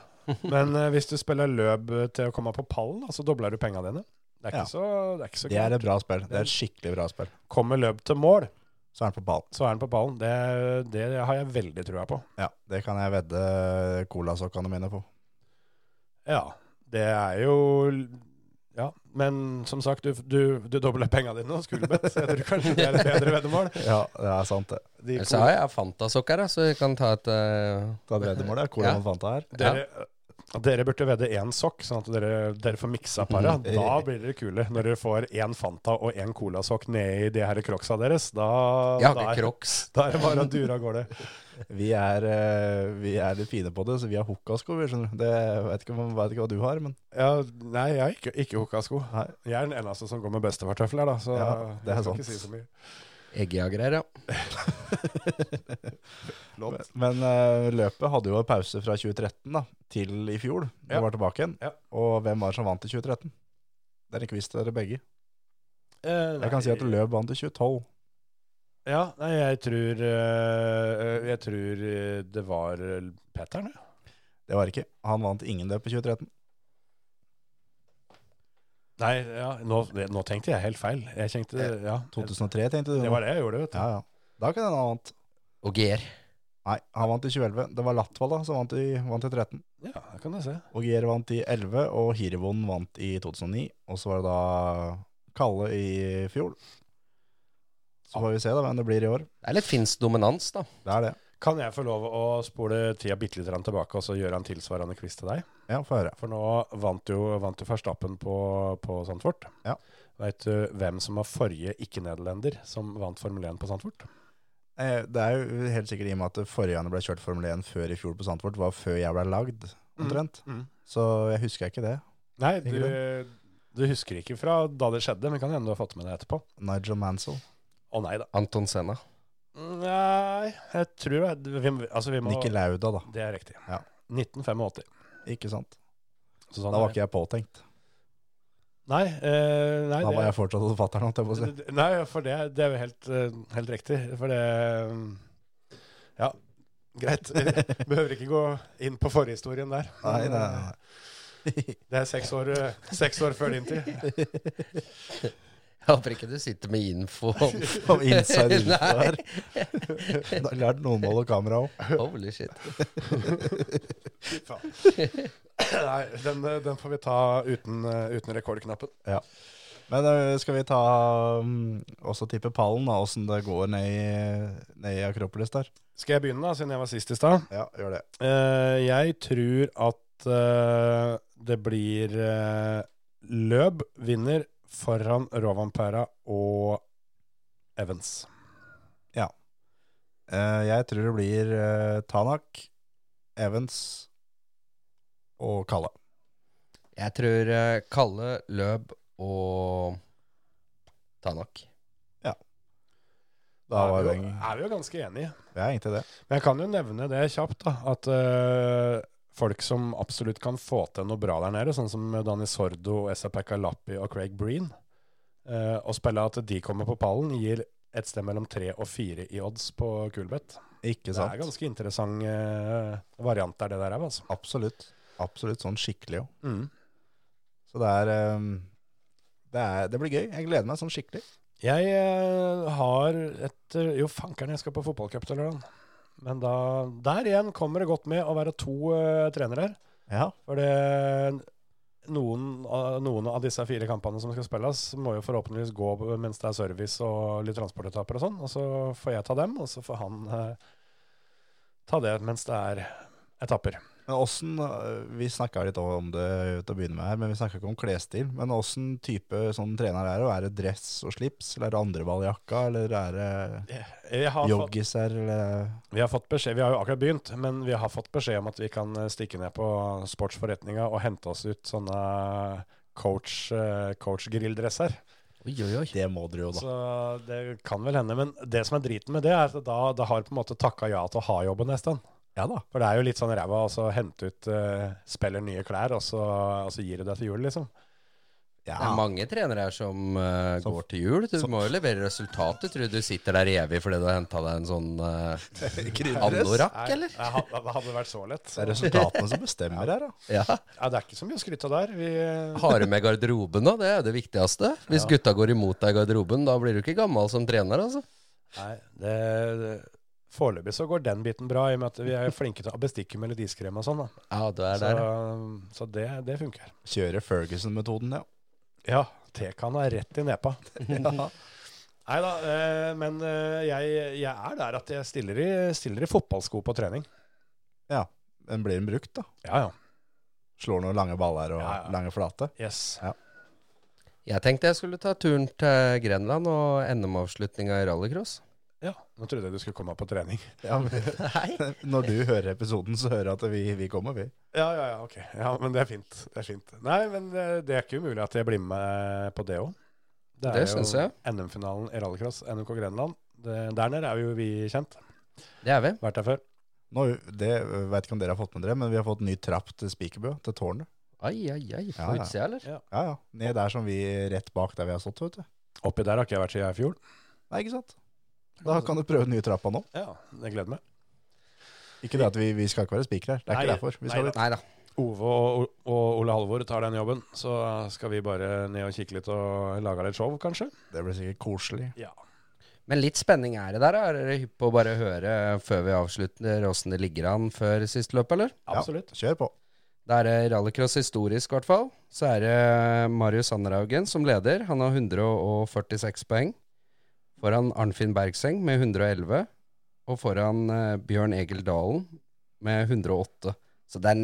Men eh, hvis du spiller løp eh, til å komme på pallen, da, så dobler du penga dine. Det er
Ja.
ikke så, det er ikke så
Det er
gærent.
et bra spill. Det er et skikkelig bra spill.
Kommer løp til mål,
så er han på ballen.
så er han på ballen. Det, det har jeg veldig trua på.
Ja, det kan jeg vedde colasokkene mine på.
Ja, det er jo Ja, men som sagt, du, du, du dobler penga dine og skulebett, så jeg tror kanskje det er et bedre veddemål.
Ja, det er sant det.
De
Ellers har jeg Fanta-sokker, da, så vi kan ta et eh,
Ta et veddemål, det er cola
Ja.
mot Fanta her.
Dere, dere burde vedde én sokk, sånn at dere, dere får miksa para. Da blir dere kule. Når dere får én Fanta og én colasokk nedi de her crocsa deres, da,
Jeg har
da,
ikke
er,
crocs.
da er det bare å dure av gårde.
Vi er, eh, vi er litt fine på det, så vi har hookasko, vi skjønner. Det, jeg vet ikke, om- vet ikke hva du har, men
Ja, nei, jeg har ikke, ikke hookasko.
Nei.
Jeg er den eneste som går med bestefartøfler, da, så
Ja, det er
jeg skal
sant.
ikke si så mye.
Eggjagere, ja.
Men eh, løpet hadde jo en pause fra 2013 da, til i fjor, da
Ja.
vi var tilbake igjen.
Ja.
Og hvem var det som vant i 2013? Det er en quiz til dere begge. Jeg kan si at
eh, Nei,
Løb vant i 2012.
Ja, nei, jeg tror eh, Jeg tror eh, det var Petteren, ja.
Det var ikke. Han vant ingen løp i 2013.
Nei, ja, nå, det, nå tenkte jeg helt feil. Jeg tenkte, ja
2003 tenkte du.
Det var det jeg gjorde, vet du.
Eh, Ja, ja. Da kan hende han vant.
Og GR.
Nei, han vant i 2011. Det var Latvala som vant i, vant i 13.
Ja, det kan du se.
Ogier vant i 11, og Hirvonen vant i 2009. Og så var det da Kalle i fjor. Så får vi se da hvem det blir i år.
Det er litt finsk dominans, da.
Det er det.
Kan jeg få lov å spole tida bitte litt grann tilbake og så gjøre en tilsvarende quiz til deg?
Ja, få høre.
For nå vant jo vant du Verstappen på, på Sandfort.
Ja.
Veit du hvem som var forrige ikke-nederlender som vant Formel 1 på Sandfort?
Eh, Det er jo helt sikkert i og med at det forrige gang det ble kjørt Formel 1 før i fjor på Sandford, var før jeg ble lagd, omtrent.
Mm.
Så jeg husker ikke det.
Nei,
Ikke
du, du husker ikke fra da det skjedde, men kan hende du har fått med deg etterpå.
Nigel Mansell.
Å nei da.
Anton Senna.
Nei, jeg tror jeg, vi, altså, vi må,
Nicky Lauda, da.
Det er riktig.
Ja.
1985.
Ikke sant?
Så sånn
Da
er
var
det.
ikke jeg påtenkt.
Nei, eh, nei
Da
det-
var jeg fortsatt hos fatter'n, holdt jeg på å si.
D- d- Nei, for det, det er jo helt, eh, helt riktig. For det um, Ja, greit. Behøver ikke gå inn på forhistorien der.
Nei, nei, nei.
Det er seks år, eh, seks år før din tid.
Jeg håper ikke du sitter med info om
Om inside info
Nei.
her. Da lærte noen å holde kamera òg.
Holy shit.
Fy faen. Nei, den, eh, den får vi ta uten, eh, uten rekordknappen.
Men eh, skal vi ta mm, også tippe pallen, da, åssen det går ned i, ned i Akropolis der?
Skal jeg begynne, da, siden jeg var sist i stad?
Ja, gjør det.
Eh, jeg tror at eh, det blir eh, Løb vinner foran Rovanpera og Evans.
Eh, jeg tror det blir eh, Tanak, Evans og Kalle.
Jeg tror eh, Kalle, Løb og Tanak.
Da
er,
var
vi
den
jo, er vi jo ganske enige.
Jeg er egentlig det.
Men jeg kan jo nevne det kjapt, da, at eh, folk som absolutt kan få til noe bra der nede, sånn som Dani Sordo, Esa Pekalappi og Craig Breen, eh, å spille at de kommer på pallen, gir et sted mellom tre og fire i odds på Kulbeth.
Ikke
Det
sant?
er ganske interessant eh, variant der, det der er, altså.
Absolutt. Absolutt sånn skikkelig òg.
Mm.
Så det er, ehm, det er Det blir gøy. Jeg gleder meg sånn skikkelig.
Jeg eh, har et eh, Jo, fankeren, jeg skal på fotballcup til lørdag. Men da, der igjen kommer det godt med å være to eh, trenere her.
Ja.
For det, noen, av- noen av disse fire kampene som skal spilles, må jo forhåpentligvis gå mens det er service og litt transportetapper og sånn. Og så får jeg ta dem, og så får han eh, ta det mens det er etapper.
Men åssen øh, Vi snakka litt om det til å begynne med her, men vi snakka ikke om klesstil. Men åssen type sånn trener er det? Er det dress og slips, eller er det andreballjakka, eller er det
Jeg har fått,
joggiser, eller
vi har fått beskjed, vi har jo akkurat begynt, men vi har fått beskjed om at vi kan eh, stikke ned på sportsforretninga og hente oss ut sånne coach, eh, coach-grilldresser.
Oi, oi, oi.
Det må dere jo, da.
Så det kan vel hende. Men det som er driten med det, er at da, da har på en måte takka ja til å ha jobben nesten.
Ja da.
For det er jo litt sånn ræva å hente ut eh, spiller nye klær, og så, og så gir du det til jul, liksom.
Ja.
Det er mange trenere her som eh,
Som-
går til jul. Du
som-
må jo levere resultater. Tror du du sitter der evig fordi du har henta deg en sånn uh, anorakk,
Nei,
eller?
det had- Det hadde vært så lett.
Det er resultatene som bestemmer her, da.
Ja.
Ja, det er ikke så mye å skryte av der. Vi,
Har du med garderoben, da? Det er jo det viktigste. Hvis gutta går imot deg i garderoben, da blir du ikke gammel som trener, altså.
Nei, det, det Foreløpig så går den biten bra, i og med at vi er flinke til å bestikke melodiskrem og sånn. da.
Ja, du er
Så,
der. ja.
så det, det funker.
Kjøre Ferguson-metoden, ja.
Ja, tekanna rett i nepa. Nei da, eh, men eh, jeg, jeg er der at jeg stiller i, stiller i fotballsko på trening.
Den blir den brukt, da.
Ja, ja.
Slår noen lange baller og
Ja, ja.
lange flate.
Yes.
Jeg tenkte jeg skulle ta turen til Grenland og NM-avslutninga i rallycross.
Ja, Nå trodde jeg du skulle komme på trening.
Ja, men, når du hører episoden, så hører jeg at vi, vi kommer, vi.
Ja, ja, ja, ok. Ja, Men det er fint. Det er fint. Nei, men eh, det er ikke umulig at jeg blir med på det òg. er
Det
jo
synes jeg.
NM-finalen i rallycross, NMK Grenland. Det, der nede er jo vi kjent.
Det er vi.
Vært der før.
Nå, det vet ikke om dere har fått med dere, men vi har fått ny trapp til Spikerbø, til tårnet.
Ai, ai, ai. På
Ja, ja.
utsida, eller?
Ja, ja. Ned der som vi, rett bak der vi har stått, vet du.
Oppi der har ikke jeg vært siden jeg er i fjor.
Nei, ikke sant? Da kan du prøve den nye trappa nå.
Ja, jeg gleder meg.
Ikke det at vi, vi skal ikke være spikere her. Det er ikke
Nei,
derfor. Vi
nei
skal
da.
dit.
Nei da.
Ove og, og Ole Halvor tar den jobben. Så skal vi bare ned og kikke litt og lage litt show, kanskje.
Det blir sikkert koselig.
Ja.
Men litt spenning er det der. da. Er dere hypp på å bare høre før vi avslutter åssen det ligger an før siste løp, eller?
Absolutt.
Kjør på.
Da er det rallycross historisk, i hvert fall. Så er det eh, Marius Sanderhaugen som leder. Han har 146 poeng. Foran Arnfinn Bergseng med 111. Og foran eh, Bjørn Egil Dalen med 108. Så den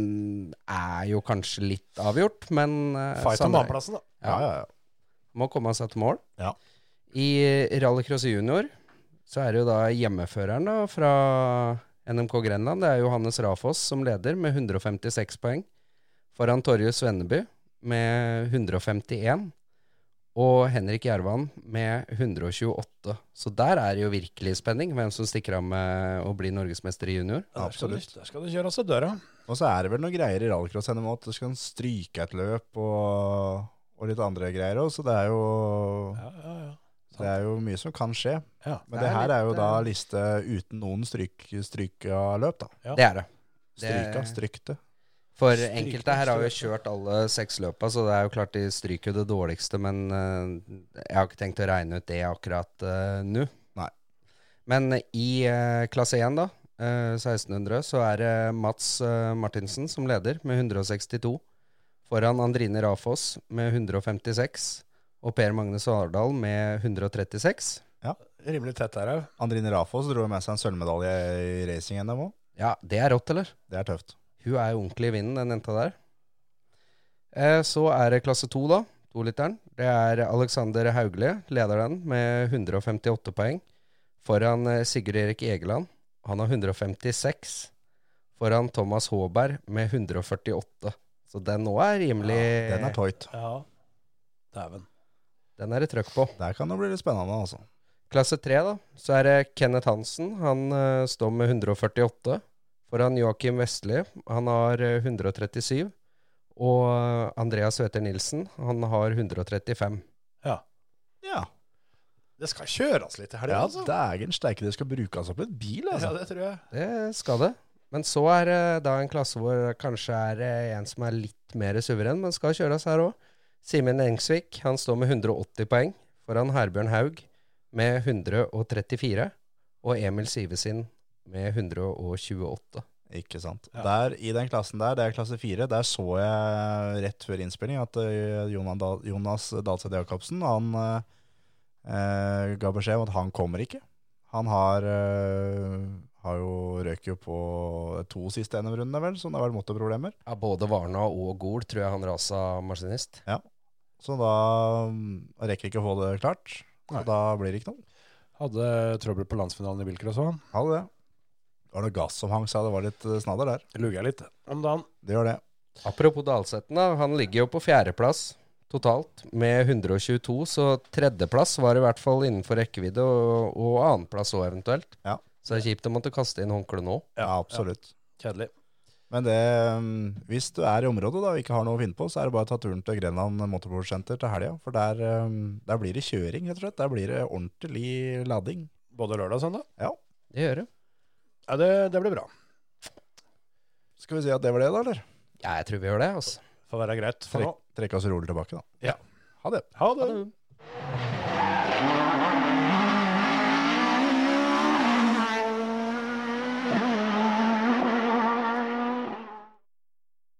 er jo kanskje litt avgjort, men eh,
Fight om
Sanderhaugen-
baneplassen, da.
Ja, ja, ja.
må komme seg til mål.
Ja.
I rallycross junior så er det jo da hjemmeføreren da fra NMK Grenland. Det er Johannes Rafoss som leder med 156 poeng. Foran Torje Svenneby med 151. Og Henrik Jervan med 128. Så der er det jo virkelig spenning hvem som stikker av med å bli norgesmester i junior.
Der skal,
Absolutt.
du, der skal du kjøre oss til døra.
Og så er det vel noen greier i rallycross henne med at du skal stryke et løp og, og litt andre greier òg, så det er, jo,
Ja, ja, ja.
det er jo mye som kan skje.
Ja.
Men
Det
det,
er
her er jo
litt,
da
eh,
liste uten noen stryk, stryka løp, da.
Ja.
Det er det. Det-
Stryka, strykte.
For
Stryker
enkelte her har jo
strøket.
kjørt alle seks løpa, så det er jo klart de stryker jo det dårligste, men eh, jeg har ikke tenkt å regne ut det akkurat eh, nå.
Nei.
Men i eh, klasse 1, da, eh, 1600, så er det Mats eh, Martinsen som leder med 162. Foran Andrine Rafoss med 156, og Per Magne Svardal med 136.
Rimelig tett her òg.
Andrine Rafoss dro jo med seg en sølvmedalje i racing-NM òg.
Ja, det er rått, eller?
Det er tøft.
Hun er jo ordentlig i vinden, den jenta der. Eh, så er det klasse to, da. Toliteren. Det er Alexander Hauglie, leder den, med 158 poeng. Foran eh, Sigurd Erik Egeland. Han har 156. Foran Thomas Håberg med 148. Så den nå er rimelig
Eh.
Den er tight.
Ja. Dæven.
Den er det trøkk på.
Der kan det bli litt spennende, altså.
Klasse 3 da, så er det Kenneth Hansen. Han eh, står med 148. Foran Joakim Vestli, han har eh, 137. Og eh, Andreas Wæther Nilsen, han har 135.
Ja,
Det skal kjøres litt i helga,
ja
altså.
dægen steike, det skal brukes opp et bil,
Ja,
altså.
det tror jeg.
Det skal det. Men så er det eh, da en klasse hvor det kanskje er eh, en som er litt mer suveren, men skal kjøres her òg. Simen Engsvik, han står med 180 poeng. Foran Herbjørn Haug med 134. Og Emil Sivesin med 128.
Ikke sant.
Ja.
Der, I den klassen der, det er klasse fire, der så jeg rett før innspilling at eh, Jonan Dahl- Jonas Dahlseth Jacobsen han eh, eh, ga beskjed om at han kommer ikke. Han har, eh, har jo røket jo på to siste NM-rundene, vel, så det har vært motorproblemer.
Ja, både Varna og Gol tror jeg han rasa maskinist.
Så da mm, rekker ikke å få det klart.
Nei.
Og da blir det ikke noe.
Hadde trøbbel på landsfinalen i bilcross òg.
Ha det. Det var noe gass som hang seg, det var litt eh, snadder der.
Lugga litt om dagen.
Det gjør det.
Apropos Dalsetten, da, han ligger jo på fjerdeplass totalt med 122, så tredjeplass var i hvert fall innenfor rekkevidde, og, og annenplass òg eventuelt.
Ja.
Så det er kjipt å måtte kaste inn håndkleet nå.
Ja, absolutt.
Kjedelig.
Men det, um, hvis du er i området da, og ikke har noe å finne på, så er det bare å ta turen til Grenland Motorsportsenter til helga. For der, um, der blir det kjøring, rett og slett. Der blir det ordentlig lading.
Både lørdag og søndag.
Det gjør det.
Ja, det, det blir bra.
Skal vi si at det var det, da? eller?
Ja, jeg tror vi gjør det, altså.
Får være greit for nå.
Trekke oss rolig tilbake, da.
Ha det.
Ha det.